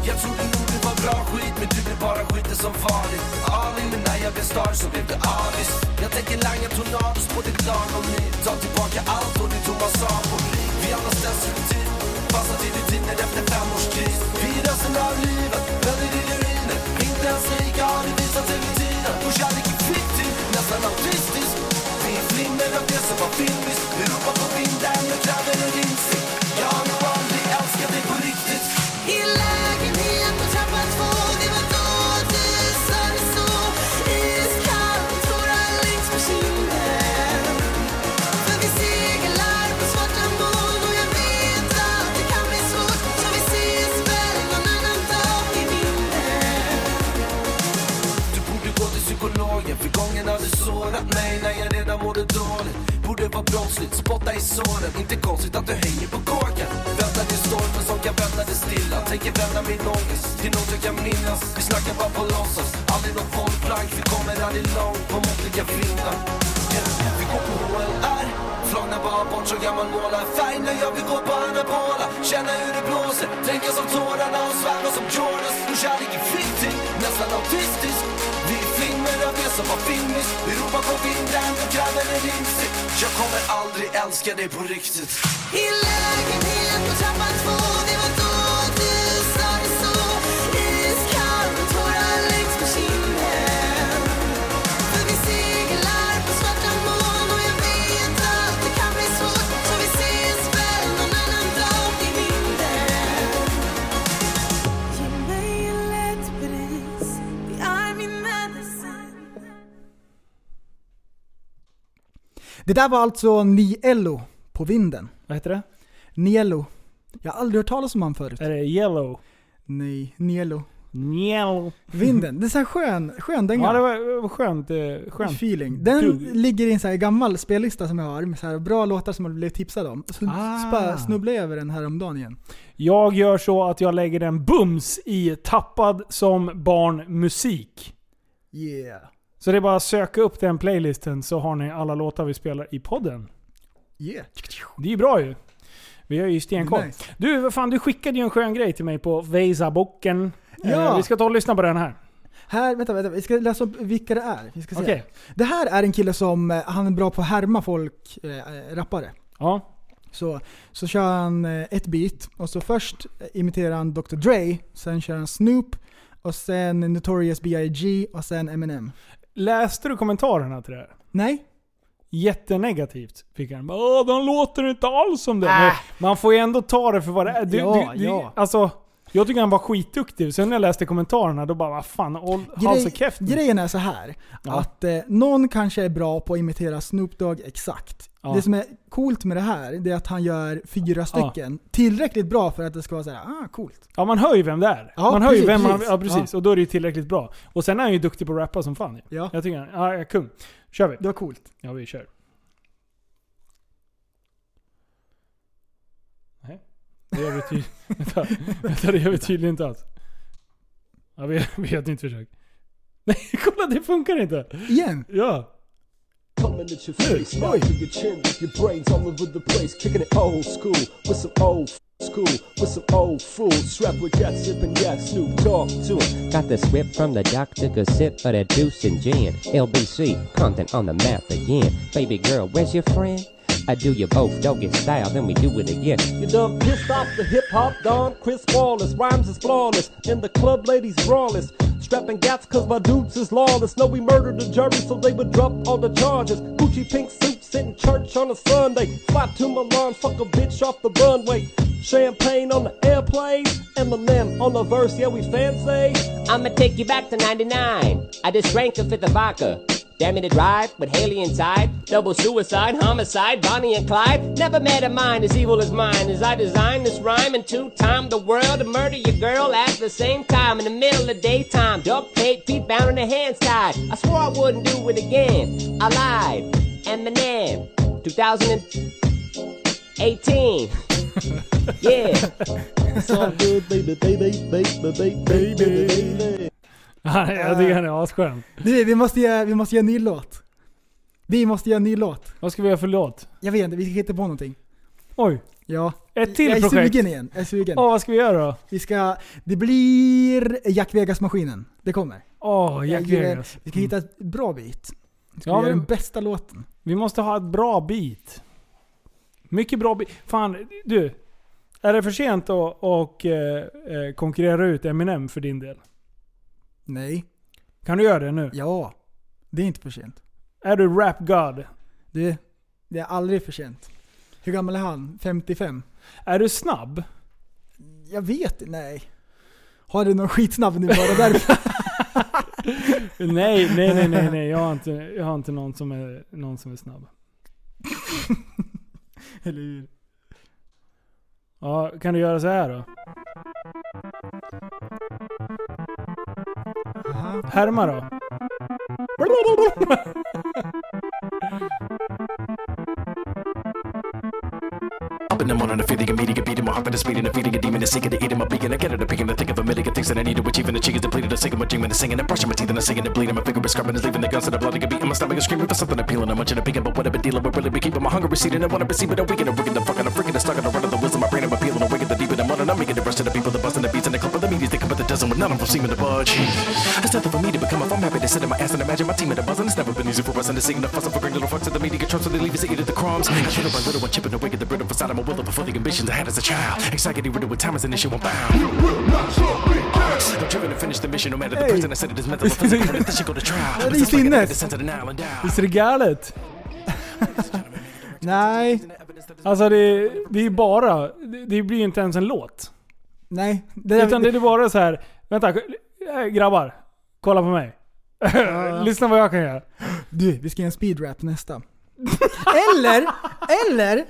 Jag trodde nog det var bra skit Men du blev bara skiten som vanligt Alin men när jag blev star så blev det avis Jag tänker langa tornados på ditt lag om ni tar tillbaka allt och det tomma sagor Vi alla ställs runt tid Fastnat i rutiner efter fem års kris Vi är resten av livet, väljer i ruiner Inte ens lika har det visat sig med tiden Vår kärlek är fiktiv, nästan autistisk Vi är flimmer av det som var filmiskt Vi ropar på vinden, nu kräver en insikt Jag har nog aldrig älskat dig på riktigt I lägenhet på trappa två, det var då du sa det så Iskallt, tårar längs med kinden För vi seglar på svarta moln och jag vet att det kan bli svårt Så vi ses väl någon annan dag i vinden Du borde gå till psykologen för gången har du sårat mig när jag redan mådde dåligt Borde vara brottsligt, spotta i såren Inte konstigt att du hänger på kåken Väntar till stormen som kan vända det stilla Tänker vända min ångest till något jag kan minnas Vi snackar bara på låtsas, aldrig någon bollplank Vi kommer aldrig långt på måttliga flintar Yeah. Vi går på HLR Flagnar bara bort så gammal målar Färg när jag vill gå på anabola Känna hur det blåser, dränka som tårarna och svära som Jordans Vår kärlek är fiktiv, nästan autistisk Vi är filmer av det som var filmiskt Vi ropar på vinden och kräver en insikt Jag kommer aldrig älska dig på riktigt I lägenhet på trappa två, det var då du sa det så Iskallt, tårar längs med kinden För vi seglar på svarta moln och jag vet att det kan bli svårt Så vi ses väl någon annan dag i vinden Ge mig en lätt bris, det är min medicin Det där var alltså Niello på vinden. Vad heter det? Niello. Jag har aldrig hört talas om han förut. Är det Yellow? Nej, Niello. Yellow. Vinden. Det är så här skön, skön dänga. Ja, det var, det var skönt. eh, skönt. feeling. Den Du- ligger i en så här gammal spellista som jag har med så här bra låtar som jag blev tipsad om. Så Ah. bara snubblade jag över den här om dagen igen. Jag gör så att jag lägger den bums i Tappad som barn musik. Yeah. Så det är bara att söka upp den playlisten så har ni alla låtar vi spelar i podden. Yeah. Det är ju bra ju. Vi har ju stenkoll. Nice. Du, vad fan, du skickade ju en skön grej till mig på Facebooken. Ja. Eh, vi ska ta och lyssna på den här. Här, vänta, vänta. Vi ska läsa upp vilka det är. Vi ska se. Okej. Det här är en kille som, eh, han är bra på att härma folk, eh, rappare. Ja. Så, så kör han eh, ett beat och så först imiterar han Dr Dre, sen kör han Snoop och sen Notorious B.I.G och sen Eminem. Läste du kommentarerna till det här? Nej? Jättenegativt fick han. Bara, Åh, de låter inte alls som det. Men Man får ju ändå ta det för vad det är. Du, Äh. Ja, du, du, ja. Alltså, Jag tycker han var skitduktig. Sen när jag läste kommentarerna då bara vad fan, håll Grej, halsen käften. grejen är så här Ja. att eh, någon kanske är bra på att imitera Snoop Dogg exakt. Ja. Det som är coolt med det här, det är att han gör fyra stycken. Tillräckligt bra för att det ska vara så här, ah coolt. Ja man hör ju vem det är. Ja, man hör ju precis, vem man, precis. ja precis. Och då är det ju tillräckligt bra. Och sen är han ju duktig på att rappa som fan ju. Ja, Jag tycker han, ja, ja kung. Kör vi. det var coolt. Ja vi kör. Nej. Det gör vi tydligen Vänta. Vänta, det gör vi tydligen inte alls. Ja vi, vi gör ett nytt försök. Nej kolla det funkar inte. Igen! Ja. Coming at your face, now to your chin, with your brains all over the place, kicking it old school with some old f- school with some old fool. Strap with yak, sipping yak, Snoop Dogg to it. Got this whip from the doc, took a sip of that juice and gin. LBC, content on the map again. Baby girl, where's your friend? I do you both doggy style, then we do it again. You done pissed off the hip hop don, Chris Wallace. Rhymes is flawless, in the club ladies brawless. Strapping gats cause my dudes is lawless. No, we murdered the jury so they would drop all the charges. Gucci pink suit, sitting church on a Sunday. Fly to Milan, fuck a bitch off the runway. Champagne on the airplane, Eminem on the verse, yeah we fancy. I'ma take you back to 99. I just drank a fifth of vodka. Damn it, a drive with Haley inside. Double suicide, homicide, Bonnie and Clyde. Never met a mind as evil as mine as I designed this rhyme and two time the world to murder your girl at the same time in the middle of daytime. Duct tape, feet bound on the hand side. I swore I wouldn't do it again. I lied. Eminem, 2018. yeah. good, baby, baby, baby, baby, baby, baby. Ja, jag tycker han är asskön. Du, vi måste göra, vi måste göra en ny låt. Vi måste göra en ny låt. Vad ska vi göra för låt? Jag vet inte, vi ska hitta på någonting. Oj. Ja. Ett till jag är projekt. sugen igen. Jag är sugen. Åh, vad ska vi göra då? Vi ska, det blir Jack Vegas-maskinen. Det kommer. Åh, Jack Jag gillar- Vegas. Mm. Vi ska hitta ett bra bit. Vi ska Ja, göra men- den bästa låten. Vi måste ha ett bra beat. Mycket bra beat. Fan, du. Är det för sent att och, eh, eh, konkurrera ut Eminem för din del? Nej. Kan du göra det nu? Ja. Det är inte för sent. Är du rap god? Du, det är aldrig för sent. Hur gammal är han? 55? Är du snabb? Jag vet nej. Har du någon skitsnabb nu bara därför? Nej, nej, nej, nej, nej. Jag har inte, jag har inte någon, som är, någon som är snabb. Eller hur? Ja, kan du göra så här då? Aha. Härma då? Up in the morning, I'm feeling immediate, beating my heart with a speed and I'm feeling a demon, a seeking to eating my beacon. I get it, a picking, I think of a million things that I need to achieve, and the chick is depleted, I'm singing my dream, and I'm singing, I'm brushing my teeth, and I'm singing, I'm bleeding, my finger is scrubbing, is leaving the guns, and the blood, I can beat in my stomach, I'm screaming for something appealing, I'm munching, I'm picking, but what I've been dealing with, really be keeping my hunger receding, I want to perceive it, I'm weakening, I'm rigging, I'm fucking, I'm freaking, I'm stuck on the run of the wheels of my brain, I'm appealing, I'm waking the deep in the mud, and I'm making the rush to the people, the bust and the beats, and the clip of the media, they come up the dozen, with none of them seeming to budge. It's nothing for me to become if I'm happy to sit in my ass and imagine my team at the buzz, and it's never been easy for us, and to sing, and to fuss, and for great little fucks at the media, control, so they leave us to eat at the crumbs. I should have little one chipping away at the rhythm facade of my will and before the ambitions I had as a child. Anxiety riddled with time as an issue I'm bound. I'm driven to finish the mission, no matter the person I said it is mental or physical, but if this shit go to trial, Det är it's like I sinnes. the sense of the now and now. Visst är det galet? Nej, Alltså det, det är bara... Det, det blir ju inte ens en låt. nej. Det där, Utan det är bara så här. Vänta, eh, grabbar. Kolla på mig. Lyssna vad jag kan göra. Du, vi ska göra en speedrap nästa. eller, eller!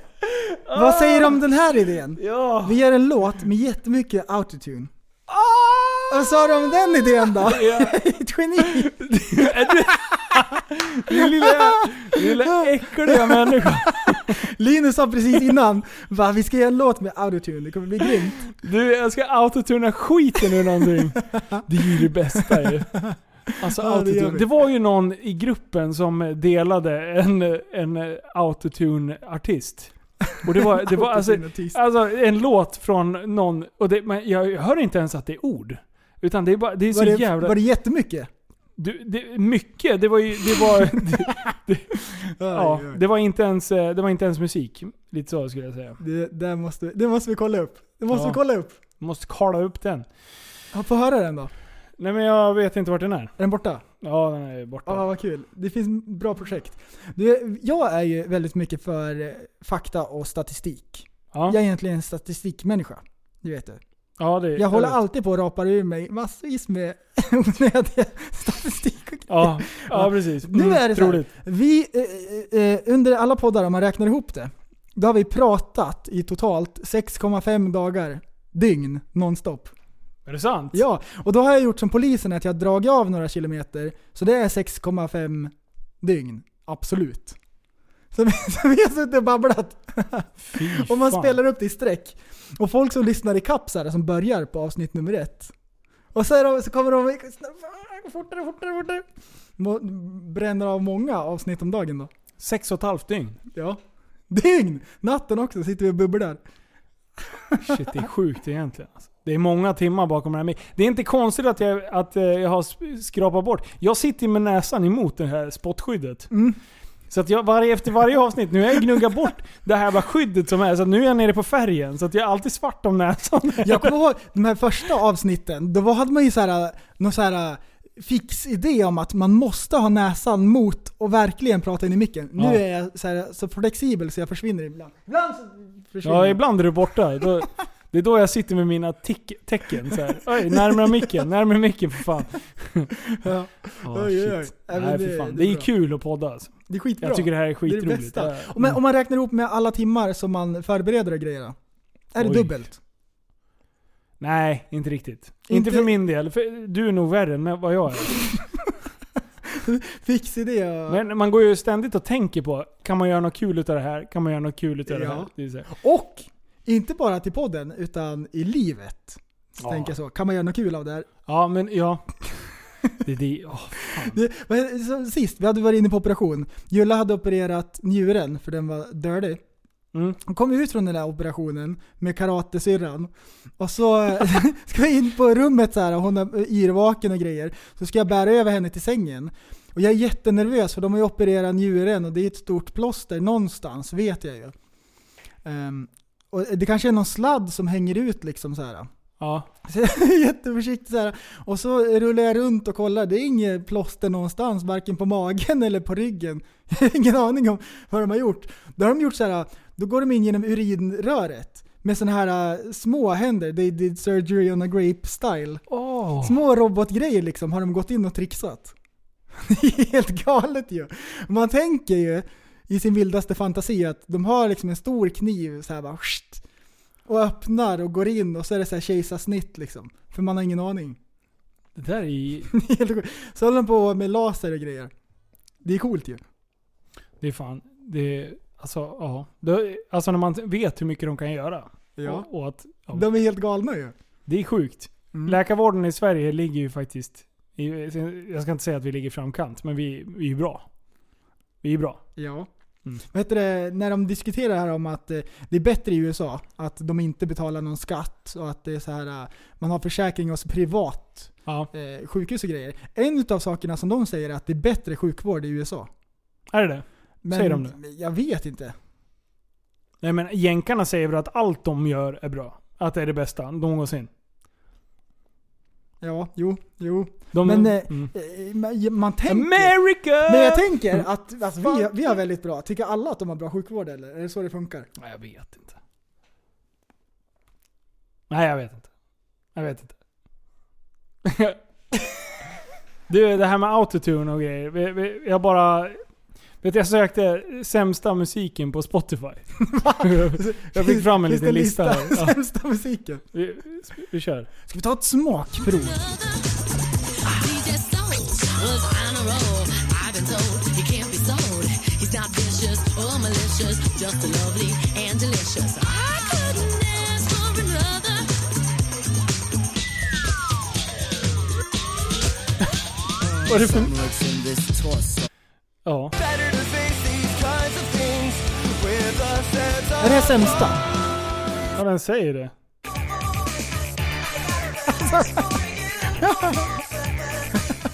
Vad säger du om den här idén? Ja. Vi gör en låt med jättemycket autotune. Ah! Vad sa du om den idén då? Ett geni! Din lilla, lilla äckliga människa. Linus sa precis innan, va, vi ska göra en låt med autotune, det kommer bli grymt. Du, jag ska autotuna skiten ur någonting. Det är ju det bästa ju. Alltså Ja, det gör autotune. vi. Det var ju någon i gruppen som delade en, en autotune-artist. Och det var, det var alltså, Autotune-artist. alltså en låt från någon, och det, men jag hör inte ens att det är ord. Utan det är bara, det är så Var det, jävla... var det jättemycket? Du, det, mycket, det var ju, det var, det, ja, det var inte ens, eh, det var inte ens musik. Lite så skulle jag säga. Det, där måste, det måste vi kolla upp. Det måste Ja. vi kolla upp. Måste kolla upp den. Ja, Få höra den då. Är Nej men jag vet inte vart den är. den borta? Ja, den är borta. Ja, vad kul. Det finns bra projekt. Du, jag är ju väldigt mycket för eh, fakta och statistik. Ja. Jag är egentligen en statistikmänniska. Det vet du. Ja, det, Jag håller vet. alltid på och rapar ur mig massvis med onödiga statistik och grejer. Ja, ja precis. Nu Mm, är det så här. troligt. Vi, eh, eh, eh, under alla poddar, om man räknar ihop det, då har vi pratat i totalt 6,5 dagar, dygn, nonstop. Är det sant? Ja, och då har jag gjort som polisen, att jag har dragit av några kilometer, så det är 6,5 dygn. Absolut. Så vi, så vi har suttit och babblat. Fy Och man fan. spelar upp det i streck. Och folk som lyssnar i kapp så här, som börjar på avsnitt nummer ett. Och så, är de, så kommer de fortare, fortare, fortare. Må- Bränner av många avsnitt om dagen då. Sex och ett halvt dygn. Ja. Dygn! Natten också sitter vi och bubblar. Shit, det är sjukt egentligen. Alltså. Det är många timmar bakom det här. Men Det är inte konstigt att jag, att eh, jag har sp- skrapat bort. Jag sitter med näsan emot det här spottskyddet. Mm. Så att jag varje, efter varje avsnitt, nu har jag gnuggat bort det här bara skyddet som är. Så att nu är jag nere på färgen. Så att jag är alltid svart om näsan. Jag kommer ihåg de här första avsnitten, då hade man ju så här, någon så här fixidé om att man måste ha näsan mot och verkligen prata in i micken. Nu Ja. är jag så, här, så flexibel så jag försvinner ibland. Ibland så försvinner Ja, jag. ibland är du borta. Då, det är då jag sitter med mina tick, tecken. Så här. Oj, närmare micken, närmare micken för fan. Ja. Oj, Oh, oj, oj. shit. Ja, men Nej, det- för fan. det Det är är bra. kul att podda alltså. Det är skitbra. Jag tycker det här är det är det skitroligt. bästa. Ja. Om man, om man räknar ihop med alla timmar som man förbereder och grejer då? Är det Oj. dubbelt? Nej, inte riktigt. Inte, Inte- för min del. För du är nog värre än vad jag är. Fixidé och... Men man går ju ständigt och tänker på, kan man göra något kul utav det här? Kan man göra något kul utav det Ja. här? Det är så här. Och inte bara till podden, utan i livet. Ja. Tänker jag så. Kan man göra något kul av det här? Ja, men ja. Det är det. åh. Det, men, så, sist, vi hade varit inne på operation. Julla hade opererat njuren för den var dirty. Mm. Hon kom ut från den där operationen med karatesyrran. Och så ska vi in på rummet så här och hon är yrvaken och grejer. Så ska jag bära över henne till sängen. Och jag är jättenervös för de har ju opererat njuren och det är ett stort plåster någonstans, vet jag ju. Ehm, och det kanske är någon sladd som hänger ut liksom så här. Ja. Så jag är jätteförsiktig så här. Och så rullar jag runt och kollar. Det är inget plåster någonstans, varken på magen eller på ryggen. Jag har ingen aning om vad de har gjort. Då har de gjort så här. Då går de in genom urinröret. Med sådana här äh, små händer. They did surgery on a grape style. Åh. Små robotgrejer liksom har de gått in och trixat. Det är helt galet ju. Man tänker ju i sin vildaste fantasi att de har liksom en stor kniv så här bara skjt, och öppnar och går in och så är det så här kejsarsnitt liksom. För man har ingen aning. Det där är ju- Det är helt sjukt. så håller de på med laser och grejer. Det är coolt ju. Det är fan. Det är, alltså, ja. Det, alltså när man vet hur mycket de kan göra. Och, och att, ja. De är helt galna ju. Det är sjukt. Mm. Läkarvården i Sverige ligger ju faktiskt... i- Jag ska inte säga att vi ligger i framkant, men vi, vi är bra. Vi är bra. Ja. Mm. Vad heter det, när de diskuterar här om att eh, det är bättre i USA, att de inte betalar någon skatt och att det är så här, eh, man har försäkring hos privat Ja. eh, sjukhus och grejer. En av sakerna som de säger är att det är bättre sjukvård i USA. Är det det? Men Säger de det? jag vet inte. Nej men jänkarna säger väl att allt de gör är bra. Att det är det bästa någonsin. Ja, jo, jo. De, Men, eh, mm. Eh, man- Man tänker... America! Men jag tänker att alltså, vi, vi har väldigt bra. Tycker alla att de har bra sjukvård eller? Är det så det funkar? Nej, jag vet inte. Nej, jag vet inte. Jag vet inte. du, det här med autotune och grejer. Vi- vi- Jag bara... Vet du, jag sökte sämsta musiken på Spotify. jag fick fram en Finns det liten lista. där. Ja, Sämsta musiken. vi, vi kör. Ska vi ta ett smakprov? DJ Soul was on a roll. I've been told he can't be sold. He's not vicious or malicious, just lovely and delicious. I couldn't ask for another. Vad är det för... Ja. Är det här sämsta? Ja, den säger det.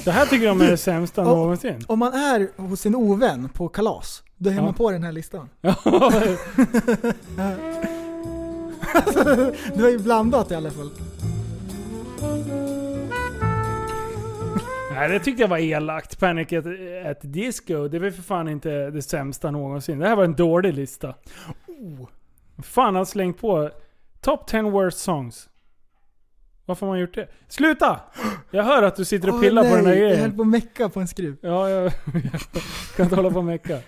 Det här tycker de är det sämsta någonsin. Om man är hos sin ovän på kalas, då är Ja. man på den här listan. Ja, Det var ju blandat i alla fall. det tyckte jag var elakt. Panic at, at Disco. Det var för fan inte det sämsta någonsin. Det här var en dålig Oh. lista. Fan, han har slängt på Top 10 worst songs. Varför har man gjort det? Sluta! Jag hör att du sitter och Åh, pillar på den här nej, Jag höll grejen. på att mecka på en skruv. Ja, jag, jag kan inte hålla på och mecka.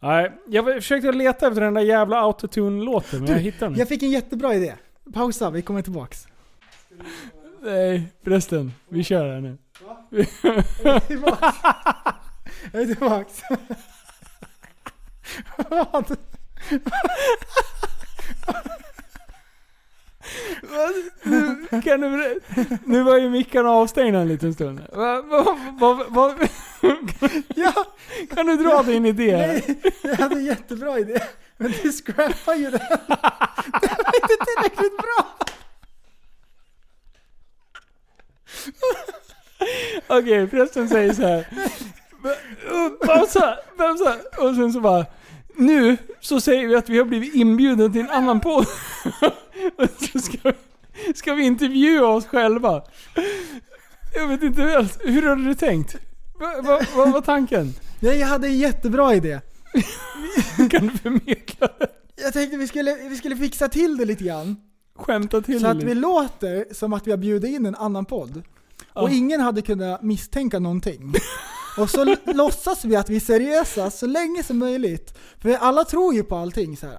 Nej, jag försökte leta efter den där jävla autotune-låten men jag hittar den inte. Jag fick en jättebra idé. Pausa, vi kommer tillbaks. Nej, förresten. Vi kör här nu. Jag är tillbaks. Vad? Nu, kan du, nu var ju mickarna avstängda en liten stund. Va, va, va, va, Ja, kan du dra din idé? här? nej, jag hade en jättebra idé. Men du scrappar ju den. Den var inte tillräckligt bra. Okej, prästen säger så här. Pausa, pausa. Och sen så bara. Nu så säger vi att vi har blivit inbjudna till en annan podd. Och så ska vi, ska vi intervjua oss själva. Jag vet inte alls. Hur hade du tänkt? Va- va- Vad var tanken? Nej, jag hade en jättebra idé. Kan du förmedla det? Jag tänkte vi skulle, vi skulle fixa till det lite grann. Skämta till Så det att lite. vi låter som att vi har bjudit in en annan podd. Ja. Och ingen hade kunnat misstänka någonting. Och så l- låtsas vi att vi är seriösa så länge som möjligt. För alla tror ju på allting så här.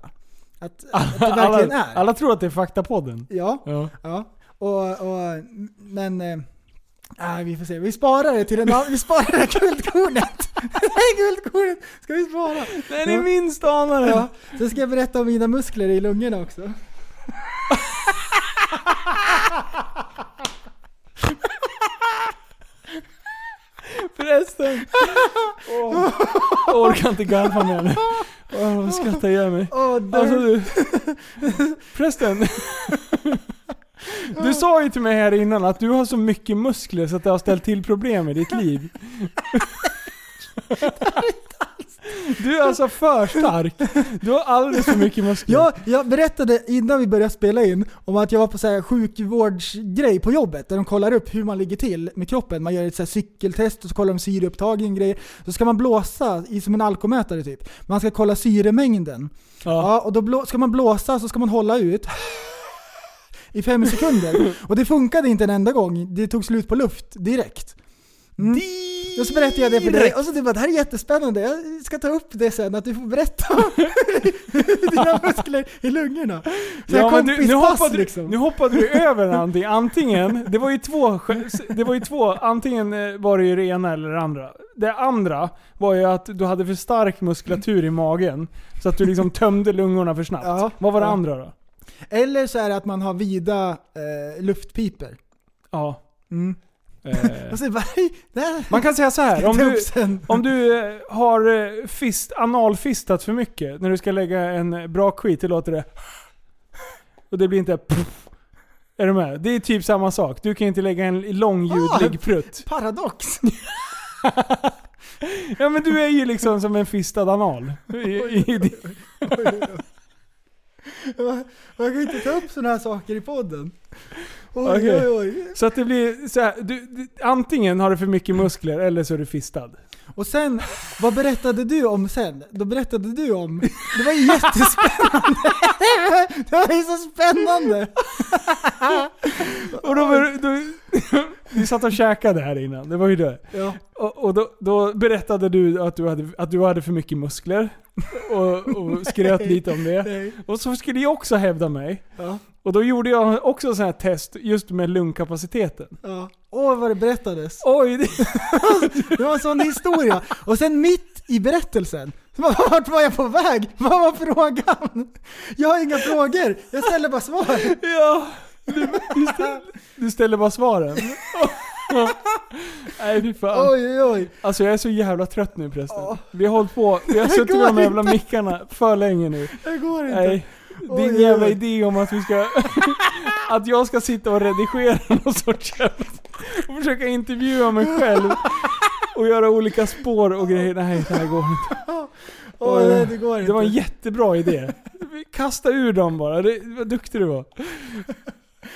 Att, att det verkligen alla, är. alla tror att det är faktapodden. Ja, Ja. ja. Och, och, men... Eh, nej, vi får se. Vi sparar det till en annan... Vi sparar det här guldkornet! Det här guldkornet ska vi spara! Nej, ni minst anar det. Ja, sen ska jag berätta om mina muskler i lungorna också. Förresten. Jag orkar inte garva mer nu. Åh, jag skrattar ihjäl mig. Åh, där- Alltså du. Förresten. Du sa ju till mig här innan att du har så mycket muskler så att det har ställt till problem i ditt liv. Du är alltså för stark. Du har alldeles för mycket muskler. Jag, jag berättade innan vi började spela in om att jag var på så här eh, sjukvårdsgrej på jobbet där de kollar upp hur man ligger till med kroppen. Man gör ett så här cykeltest och så kollar de syreupptagen och grejer. Så ska man blåsa i som en alkomätare typ. Man ska kolla syremängden. Ja. och då blå, ska man blåsa så ska man hålla ut i fem Mm. sekunder. Och det funkade inte en enda gång. Det tog slut på luft direkt. Mm. Och så berättade jag det för dig och så du bara det här är jättespännande, jag ska ta upp det sen att du får berätta om dina muskler i lungorna. Så Ja, jag men du, nu, kompispass hoppade, liksom. du- nu hoppade du över någonting. Antingen, det var ju två, sk- det var ju två, antingen eh, var det ju det ena eller det andra. Det andra var ju att du hade för stark muskulatur i magen. Så att du liksom tömde lungorna för snabbt. Ja, Vad var det ja. andra då? Eller så är det att man har vida eh, luftpipor. Ja. Mm. Eh, Och så bara, "Hej, det här man kan säga så här. om tar jag du, upp sen. om du eh, har eh, fist, analfistat för mycket när du ska lägga en eh, bra skit, det låter det... Och det blir inte... Puff. Är du med? Det är typ samma sak. Du kan inte lägga en långjudlig Ah. prutt. Paradox! Ja men du är ju liksom som en fistad anal. I, i, i, Man man kan inte ta upp sådana här saker i podden. Oj, Okej. oj, oj. så att det blir så här, du, du, antingen har du för mycket muskler eller så är du fistad. Och sen, vad berättade du om sen? Då berättade du om... Det var ju jättespännande! Det var ju så spännande! Och då, var- då, vi satt och käkade här innan, det var ju det. Ja. Och, och då, då berättade du att du hade, att du hade för mycket muskler. Och, och skröt lite om det. Nej. Och så skulle jag också hävda mig. Ja. Och då gjorde jag också så här test just med lungkapaciteten. Ja. Åh vad det berättades. Oj, det, Det var en sån historia. Och sen mitt i berättelsen, så bara, vart var jag på väg? Vad var frågan? Jag har inga frågor, jag ställer bara svar. Ja, du, du, ställer, du ställer bara svaren. Nej fy fan. Oj oj oj. Alltså jag är så jävla trött nu förresten. Vi har hållit på, vi har Det suttit går med de jävla inte. mickarna för länge nu. Det går inte. Nej. Oj, Din oj, jävla oj. idé om att vi ska... Att jag ska sitta och redigera någon sorts jävla... Och försöka intervjua mig själv. Och göra olika spår och grejer. Nej, det här går inte. Åh, nej, det går inte. Det var en jättebra idé. Kasta ur dem bara. Det, vad duktig du var.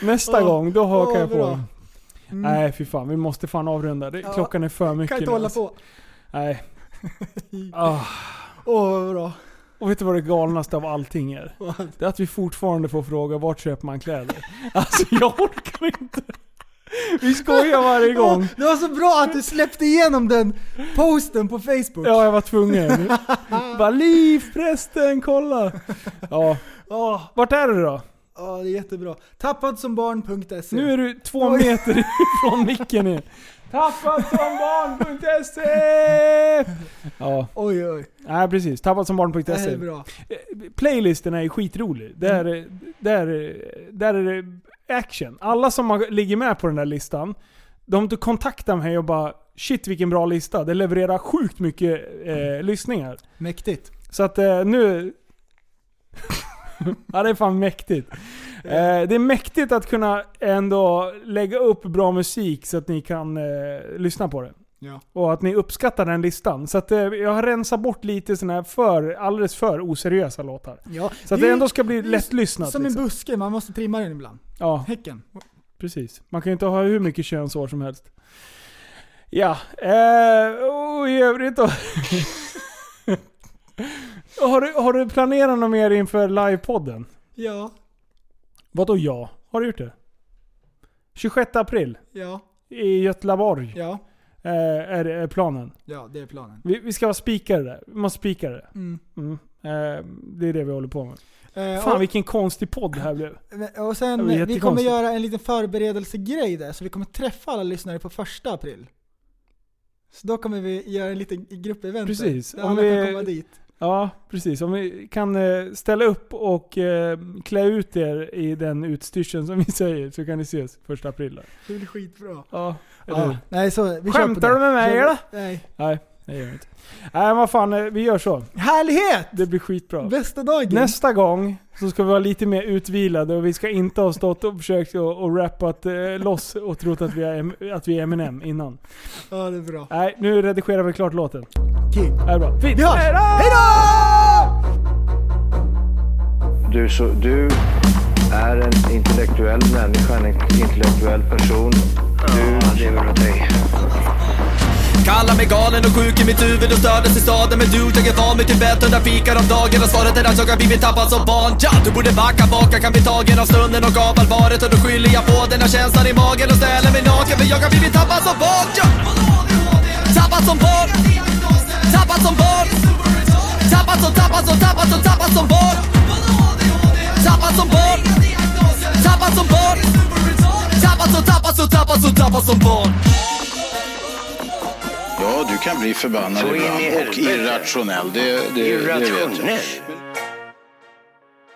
Nästa Ja. gång, då hakar Ja, jag på bra. Mm. dem. Nej fy fan, vi måste fan avrunda. Det, Ja, klockan är för mycket kan inte nu, hålla alltså. på. Nej. Ah. Åh vad bra. Och vet du vad det galnaste av allting är? Det är att vi fortfarande får fråga vart köper man kläder? Alltså jag orkar inte. Vi skojar varje gång. Det var så bra att du släppte igenom den posten på Facebook. Ja, jag var tvungen. Bara Liv, prästen, kolla! Ja. Ja, Vart är du då? ja, det är jättebra. Tappadsombarn.se Nu är du två meter ifrån micken igen. Tappadsombarn.se E. Ja, Oj, oj. nej precis. Tappadsombarn.se Det här är bra. Playlisten är ju skitrolig. Där, där, där är det action. Alla som har, ligger med på den där listan, de kontaktar mig och bara Shit vilken bra lista. Det levererar sjukt mycket eh, lyssningar. Mäktigt. Så att eh, nu... ja det är fan mäktigt. Eh, det är mäktigt att kunna ändå lägga upp bra musik så att ni kan eh, lyssna på det. Ja. Och att ni uppskattar den listan. Så att eh, jag har rensat bort lite sådana här för, alldeles för oseriösa låtar. Ja, Så att är det ju ändå ska bli det är ju lättlyssnat. Som en liksom. buske, man måste trimma den ibland. Ja, Häcken. precis. Man kan ju inte ha hur mycket könsår som helst. Ja, eh, och i övrigt då. har, du, har du planerat något mer inför livepodden? Ja, Vadå ja? Har du gjort det? 26 april ja, i Göteborg ja. eh, är, är planen. Ja, det är planen. Vi, vi ska vara spikare där. Vi måste spika det. Mm. Mm. Eh, det är det vi håller på med. Eh, Fan och, vilken konstig podd det här blev. men- och Det var sen, vi kommer jättekonstigt. göra en liten förberedelsegrej där, så vi kommer träffa alla lyssnare på första april. Så då kommer vi göra en liten gruppevent där, Precis, där om alla vi- kan komma dit. Ja, precis. Om vi kan eh, ställa upp och eh, klä ut er i den utstyrseln som vi säger så kan ni ses första april. där. Det blir skitbra. Ja, eller hur? Ja, nej, så, vi Skämtar kör på det. du med mig, Så- eller? Nej. Nej, det gör vi inte. Nej men vad fan, eh, vi gör så. Härlighet! Det blir skitbra. Bästa dagen! Nästa gång så ska vi vara lite mer utvilade och vi ska inte ha stått och försökt och, och rappat eh, loss och trott att vi, är, Em- att vi är Eminem innan. Ja, det är bra. Nej, nu redigerar vi klart låten. Okej. Det är bra. Fint. Vi hörs! Hejdå! Du, så, du är en intellektuell människa, en intellektuell person. Du lever åt dig. Kallar mig galen och sjuk i mitt huvud och stördes i staden Men du, jag är van vid Tibet och där fikar om dagen Och svaret är att jag har blivit tappad som barn ja, Du borde backa bak, jag kan bli tagen av stunden och av allvaret Och då skyller jag på den här känslan i magen och ställer mig naken För jag har blivit tappad som barn ja. Tappad som barn Tappad som barn Tappad som, tappad som, tappad som, tappad som barn Tappad som barn Tappad som barn Tappad som, tappad som, tappad som, tappad som barn Ja, du kan bli förbannad Så in i ibland och helvete. irrationell. Det, det, det vet jag. Irrationell.